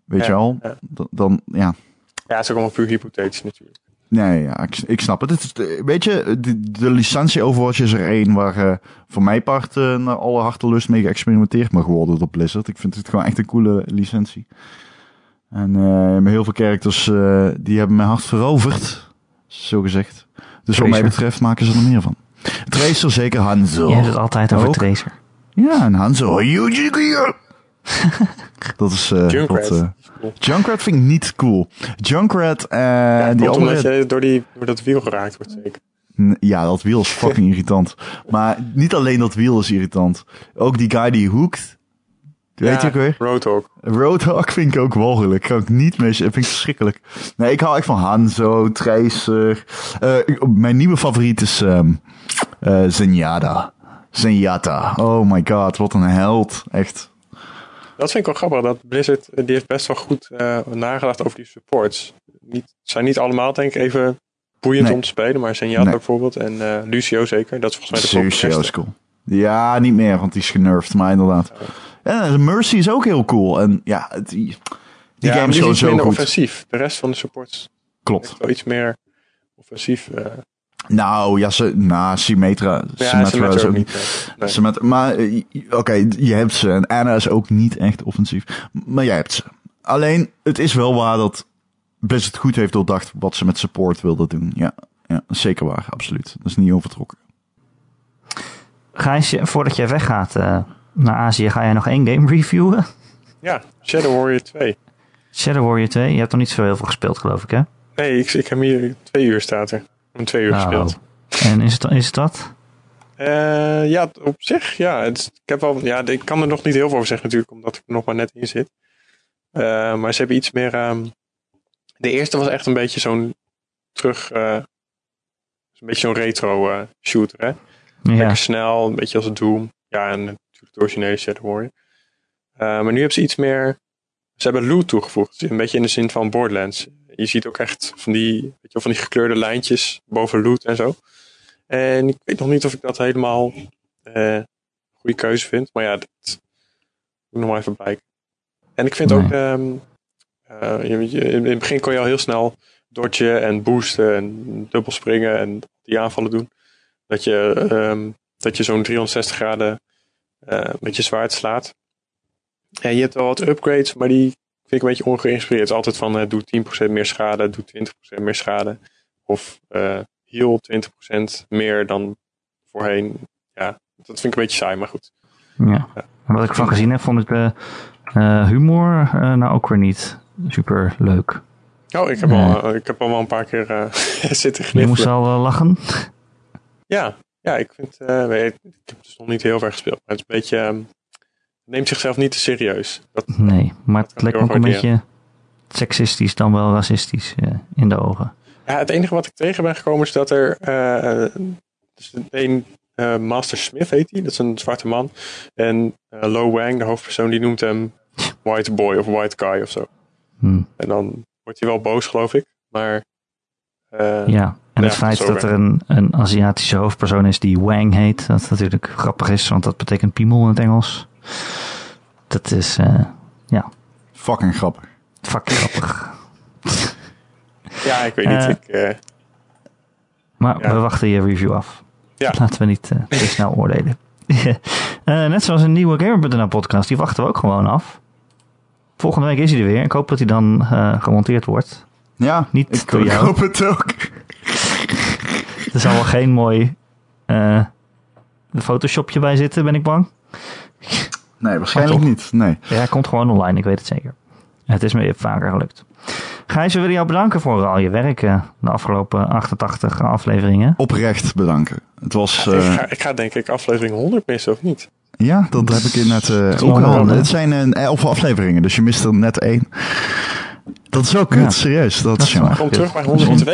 Speaker 2: Weet
Speaker 3: Ja,
Speaker 2: je wel?
Speaker 3: ja.
Speaker 2: Dan, dan, ja.
Speaker 3: Ja, het is ook allemaal puur hypothetisch natuurlijk.
Speaker 2: Nee, ja, ik, ik snap het. Het is, eh, weet je, de, de licentie Overwatch is er één waar eh, voor mijn part eh, naar alle hartelust mee geëxperimenteerd mag worden door Blizzard. Ik vind het gewoon echt een coole licentie. En eh, met heel veel characters, eh, die hebben mijn hart veroverd, zo gezegd. Dus wat mij
Speaker 1: Tracer.
Speaker 2: betreft maken ze er meer van. Tracer, zeker Hanzo.
Speaker 1: Je hebt het altijd over
Speaker 2: Ook?
Speaker 1: Tracer.
Speaker 2: Ja, en Hanzo. Dat is eh,
Speaker 3: Junkrat.
Speaker 2: wat... eh,
Speaker 3: Cool.
Speaker 2: Junkrat vind ik niet cool. Junkrat eh die
Speaker 3: Komt
Speaker 2: andere...
Speaker 3: omdat je door, die, door dat wiel geraakt wordt zeker.
Speaker 2: N- Ja, dat wiel is fucking irritant. Maar niet alleen dat wiel is irritant. Ook die guy die hoekt. Weet je ook weer?
Speaker 3: Roadhog.
Speaker 2: Roadhog vind ik ook walgelijk. Kan ik niet mis. Vind ik verschrikkelijk. Nee, ik hou echt van Hanzo, Tracer. Eh, ik- mijn nieuwe favoriet is ehm eh, Zenyatta. Zenyatta. Oh my god, wat een held. Echt.
Speaker 3: Dat vind ik wel grappig. Dat Blizzard eh, die heeft best wel goed eh, nagedacht over die supports. Niet, zijn niet allemaal denk ik even boeiend
Speaker 2: Nee.
Speaker 3: om te spelen. Maar Zenyatta
Speaker 2: Nee.
Speaker 3: bijvoorbeeld en eh, Lucio zeker. Dat is volgens mij de
Speaker 2: Serieus
Speaker 3: populairste.
Speaker 2: is cool. Ja, niet meer, want die is genervd, maar inderdaad. En Mercy is ook heel cool. En ja, het- die, die
Speaker 3: ja, maar
Speaker 2: game is
Speaker 3: die
Speaker 2: gewoon
Speaker 3: iets
Speaker 2: zo
Speaker 3: minder
Speaker 2: goed.
Speaker 3: offensief. De rest van de supports
Speaker 2: Klopt.
Speaker 3: is wel iets meer offensief. eh
Speaker 2: Nou, ja, ze, nou, Symmetra,
Speaker 3: ja, ze
Speaker 2: Symmetra
Speaker 3: matchen
Speaker 2: is
Speaker 3: ook
Speaker 2: ook
Speaker 3: niet. eh, nee.
Speaker 2: Symmetra- maar eh, j- oké, je hebt ze. En Anna is ook niet echt offensief. Maar jij hebt ze. Alleen, het is wel waar dat Blizzard goed heeft doordacht wat ze met support wilden doen. Ja, ja zeker waar, absoluut. Dat is niet overtrokken.
Speaker 1: Gijs, je- voordat jij weggaat eh, naar Azië, ga jij nog één game reviewen?
Speaker 3: Ja, Shadow Warrior 2.
Speaker 1: Shadow Warrior 2, je hebt nog niet zo heel veel gespeeld, geloof ik, hè?
Speaker 3: Nee, ik, ik heb hier twee uur staat er. Om twee uur
Speaker 1: Nou,
Speaker 3: gespeeld.
Speaker 1: En is het, is het dat?
Speaker 3: Eh, ja, op zich, ja. Het, is- ik, heb wel, ja. ik kan er nog niet heel veel over zeggen natuurlijk, omdat ik er nog maar net in zit. Eh, maar ze hebben iets meer... ehm, de eerste was echt een beetje zo'n terug... eh, een beetje zo'n retro eh, shooter, hè.
Speaker 1: Ja,
Speaker 3: Lekker snel, een beetje als het Doom. Ja, en natuurlijk de originele Shadow Warrior. Eh, maar nu hebben ze iets meer... Ze hebben loot toegevoegd. Een beetje in de zin van Borderlands. Je ziet ook echt van die, weet je, wel, van die gekleurde lijntjes boven loot en zo. En ik weet nog niet of ik dat helemaal eh goede keuze vind. Maar ja, dat moet ik nog maar even blijken. En ik vind
Speaker 1: Nee.
Speaker 3: ook... ehm, eh, je- je- in het begin kon je al heel snel dodgen en boosten en dubbel springen en die aanvallen doen. Dat je, ehm, dat je zo'n 360 graden eh, met je zwaard slaat. En je hebt wel wat upgrades, maar die vind ik een beetje ongeïnspireerd. Het is Altijd van eh, doe 10% meer schade, doe 20% meer schade. Of eh heal 20% meer dan voorheen. Ja, dat vind ik een beetje saai, maar goed.
Speaker 1: ja. En wat ik van gezien heb, vond ik de eh, humor eh, nou ook weer niet super leuk.
Speaker 3: Oh, ik heb, al, ik heb al wel een paar keer eh, zitten
Speaker 1: Je moest
Speaker 3: gniffelen.
Speaker 1: al eh, lachen.
Speaker 3: Ja, ja ik, vind, eh, weet, ik heb dus nog niet heel ver gespeeld. Maar het is een beetje... ehm, het neemt zichzelf niet te serieus. Dat,
Speaker 1: Nee, maar
Speaker 3: Dat
Speaker 1: het
Speaker 3: kan ik
Speaker 1: lijkt me ook
Speaker 3: heel
Speaker 1: een
Speaker 3: goed
Speaker 1: beetje seksistisch dan wel racistisch eh, in de ogen.
Speaker 3: Ja, het enige wat ik tegen ben gekomen is dat er. eh eh, dus een eh, Master Smith heet hij, dat is een zwarte man. En eh Lo Wang, de hoofdpersoon, die noemt hem White Boy of White Guy of zo.
Speaker 1: Hm,
Speaker 3: En dan wordt hij wel boos, geloof ik. Maar. eh,
Speaker 1: ja, en
Speaker 3: Ja,
Speaker 1: het feit
Speaker 3: zo
Speaker 1: dat
Speaker 3: ben
Speaker 1: er een, een Aziatische hoofdpersoon is die Wang heet, dat natuurlijk grappig is, want dat betekent piemel in het Engels. Dat is, eh
Speaker 2: Fucking grappig.
Speaker 1: fuck grappig.
Speaker 3: ja, ik weet niet.
Speaker 1: Eh.
Speaker 3: ik, eh,
Speaker 1: Maar
Speaker 3: Ja.
Speaker 1: we wachten je review af.
Speaker 3: Ja.
Speaker 1: Laten we niet eh, te snel oordelen. Eh, net zoals een nieuwe Gamer.nl podcast, die wachten we ook gewoon af. Volgende week is hij er weer. Ik hoop dat hij dan eh, gemonteerd wordt.
Speaker 2: Ja,
Speaker 1: Niet
Speaker 2: ik,
Speaker 1: door
Speaker 2: ik
Speaker 1: jou.
Speaker 2: hoop het ook.
Speaker 1: Er zal wel geen mooi eh, Photoshopje bij zitten, ben ik bang.
Speaker 2: Nee, waarschijnlijk niet. Nee.
Speaker 1: Ja, hij komt gewoon online, ik weet het zeker. Het is me vaker gelukt. Gijs, we willen jou bedanken voor al je werk eh, de afgelopen 88 afleveringen.
Speaker 2: Oprecht bedanken. Het was...
Speaker 3: ik,
Speaker 2: eh,
Speaker 3: ga, ik ga denk ik aflevering 100 missen, of niet?
Speaker 2: Ja, dat heb ik inderdaad net ook
Speaker 1: wel
Speaker 2: al.
Speaker 1: wel, hè?
Speaker 2: Het zijn eh, elf afleveringen, dus je mist er net één. Dat is ook kut,
Speaker 1: Ja.
Speaker 2: serieus. Dat, is
Speaker 1: is
Speaker 2: jammer.
Speaker 1: waar.
Speaker 3: Kom
Speaker 1: Ja.
Speaker 3: terug bij 102.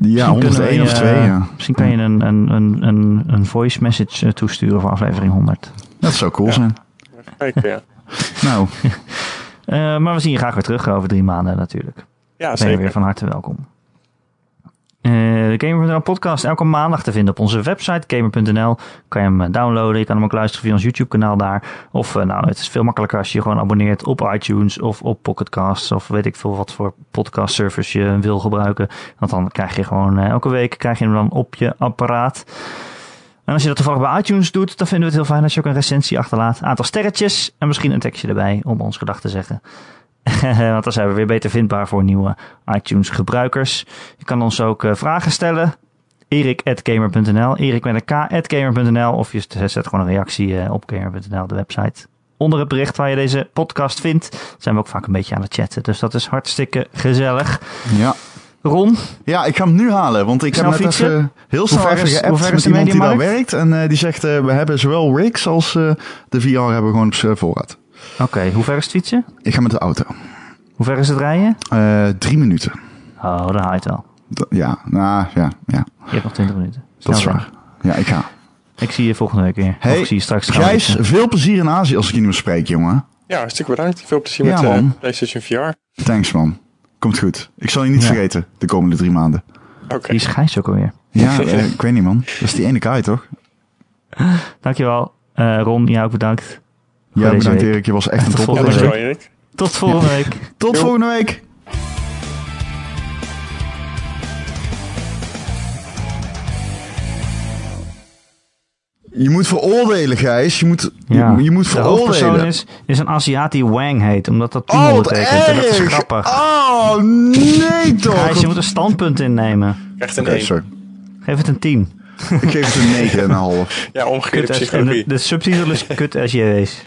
Speaker 2: Ja,
Speaker 1: Misschien kunnen
Speaker 2: 101
Speaker 1: wij,
Speaker 2: of
Speaker 1: eh,
Speaker 2: 2, ja.
Speaker 1: Misschien kan je een, een, een, een, een voice message eh, toesturen voor aflevering 100.
Speaker 2: Dat zou cool
Speaker 3: Ja.
Speaker 2: zijn.
Speaker 3: Even kijken, ja.
Speaker 2: Nou,
Speaker 1: Eh, maar we zien je graag weer terug over drie maanden natuurlijk.
Speaker 3: Ja,
Speaker 1: Ben je
Speaker 3: zeker.
Speaker 1: weer van harte welkom. Eh, de Gamer.nl podcast elke maandag te vinden op onze website gamer.nl. Kan je hem eh, downloaden, je kan hem ook luisteren via ons YouTube kanaal daar. Of eh, nou, het is veel makkelijker als je je gewoon abonneert op iTunes of op Pocketcasts of weet ik veel wat voor podcast service je wil gebruiken. Want dan krijg je gewoon eh, elke week krijg je hem dan op je apparaat. En als je dat toevallig bij iTunes doet, dan vinden we het heel fijn als je ook een recensie achterlaat. Aantal sterretjes en misschien een tekstje erbij om ons gedag te zeggen. Want dan zijn we weer beter vindbaar voor nieuwe iTunes gebruikers. Je kan ons ook eh, vragen stellen. Erik.gamer.nl Erik met een k.gamer.nl Of je zet gewoon een reactie eh, op gamer.nl, de website. Onder het bericht waar je deze podcast vindt, zijn we ook vaak een beetje aan het chatten. Dus dat is hartstikke gezellig.
Speaker 2: Ja.
Speaker 1: Ron,
Speaker 2: ja, ik ga hem nu halen, want ik
Speaker 1: Snel
Speaker 2: heb net
Speaker 1: fietsen?
Speaker 2: even heel snel
Speaker 1: ver is-
Speaker 2: even
Speaker 1: hoe
Speaker 2: geappt
Speaker 1: ver is
Speaker 2: met
Speaker 1: de
Speaker 2: iemand die daar
Speaker 1: Mediamarkt?
Speaker 2: werkt. En eh, die zegt, eh, we hebben zowel rigs als eh, de VR hebben we gewoon op eh, voorraad.
Speaker 1: oké, hoe ver is het fietsen?
Speaker 2: Ik ga met de auto.
Speaker 1: Hoe ver is het rijden?
Speaker 2: Eh, drie minuten.
Speaker 1: Oh, dan haal je het wel.
Speaker 2: D- ja, nou ja, ja.
Speaker 1: Je hebt nog 20 minuten.
Speaker 2: Dat
Speaker 1: Snel
Speaker 2: is
Speaker 1: zijn.
Speaker 2: waar. Ja, ik ga.
Speaker 1: Ik zie je volgende week weer. of
Speaker 2: Hey,
Speaker 1: ik zie je straks gaan
Speaker 2: Gijs,
Speaker 1: fietsen.
Speaker 2: veel plezier in Azië als ik je niet meer spreek, jongen.
Speaker 3: Ja, hartstikke bedankt. Veel plezier
Speaker 2: Ja,
Speaker 3: met eh,
Speaker 2: man.
Speaker 3: PlayStation VR.
Speaker 2: Thanks, man. Komt goed. Ik zal je niet
Speaker 1: Ja.
Speaker 2: vergeten de komende drie maanden.
Speaker 3: Oké.
Speaker 1: Wie is Gijs ook alweer?
Speaker 2: Ja, eh, ik weet niet, man. Dat is die ene guy, toch?
Speaker 1: Dankjewel. Eh Ron, jou ook bedankt.
Speaker 2: Ja,
Speaker 1: deze
Speaker 2: bedankt
Speaker 1: week.
Speaker 2: Erik. Je was echt
Speaker 1: Tot
Speaker 2: een
Speaker 3: Ja,
Speaker 1: volgende
Speaker 2: topper.
Speaker 1: week.
Speaker 3: dankjewel Erik.
Speaker 1: Tot volgende week.
Speaker 2: Tot
Speaker 3: Jo.
Speaker 2: volgende week. Je moet veroordelen, Gijs. Je moet,
Speaker 1: Ja.
Speaker 2: je, je moet
Speaker 1: de hoofdpersoon
Speaker 2: veroordelen.
Speaker 1: is, is een Aziat die Wang heet, omdat dat
Speaker 2: Oh,
Speaker 1: Timon
Speaker 2: wat
Speaker 1: betekent. En dat is
Speaker 2: erg.
Speaker 1: grappig.
Speaker 2: Oh, nee toch.
Speaker 1: Gijs, je moet een standpunt innemen.
Speaker 3: Echt een
Speaker 2: Oké,
Speaker 3: één.
Speaker 2: sorry.
Speaker 1: Geef het een 10.
Speaker 2: Ik geef het een 9,5.
Speaker 3: Ja, omgekeerde
Speaker 2: eh,
Speaker 1: Kut als, en de,
Speaker 3: psychologie.
Speaker 1: de subtitel is kut als je wees.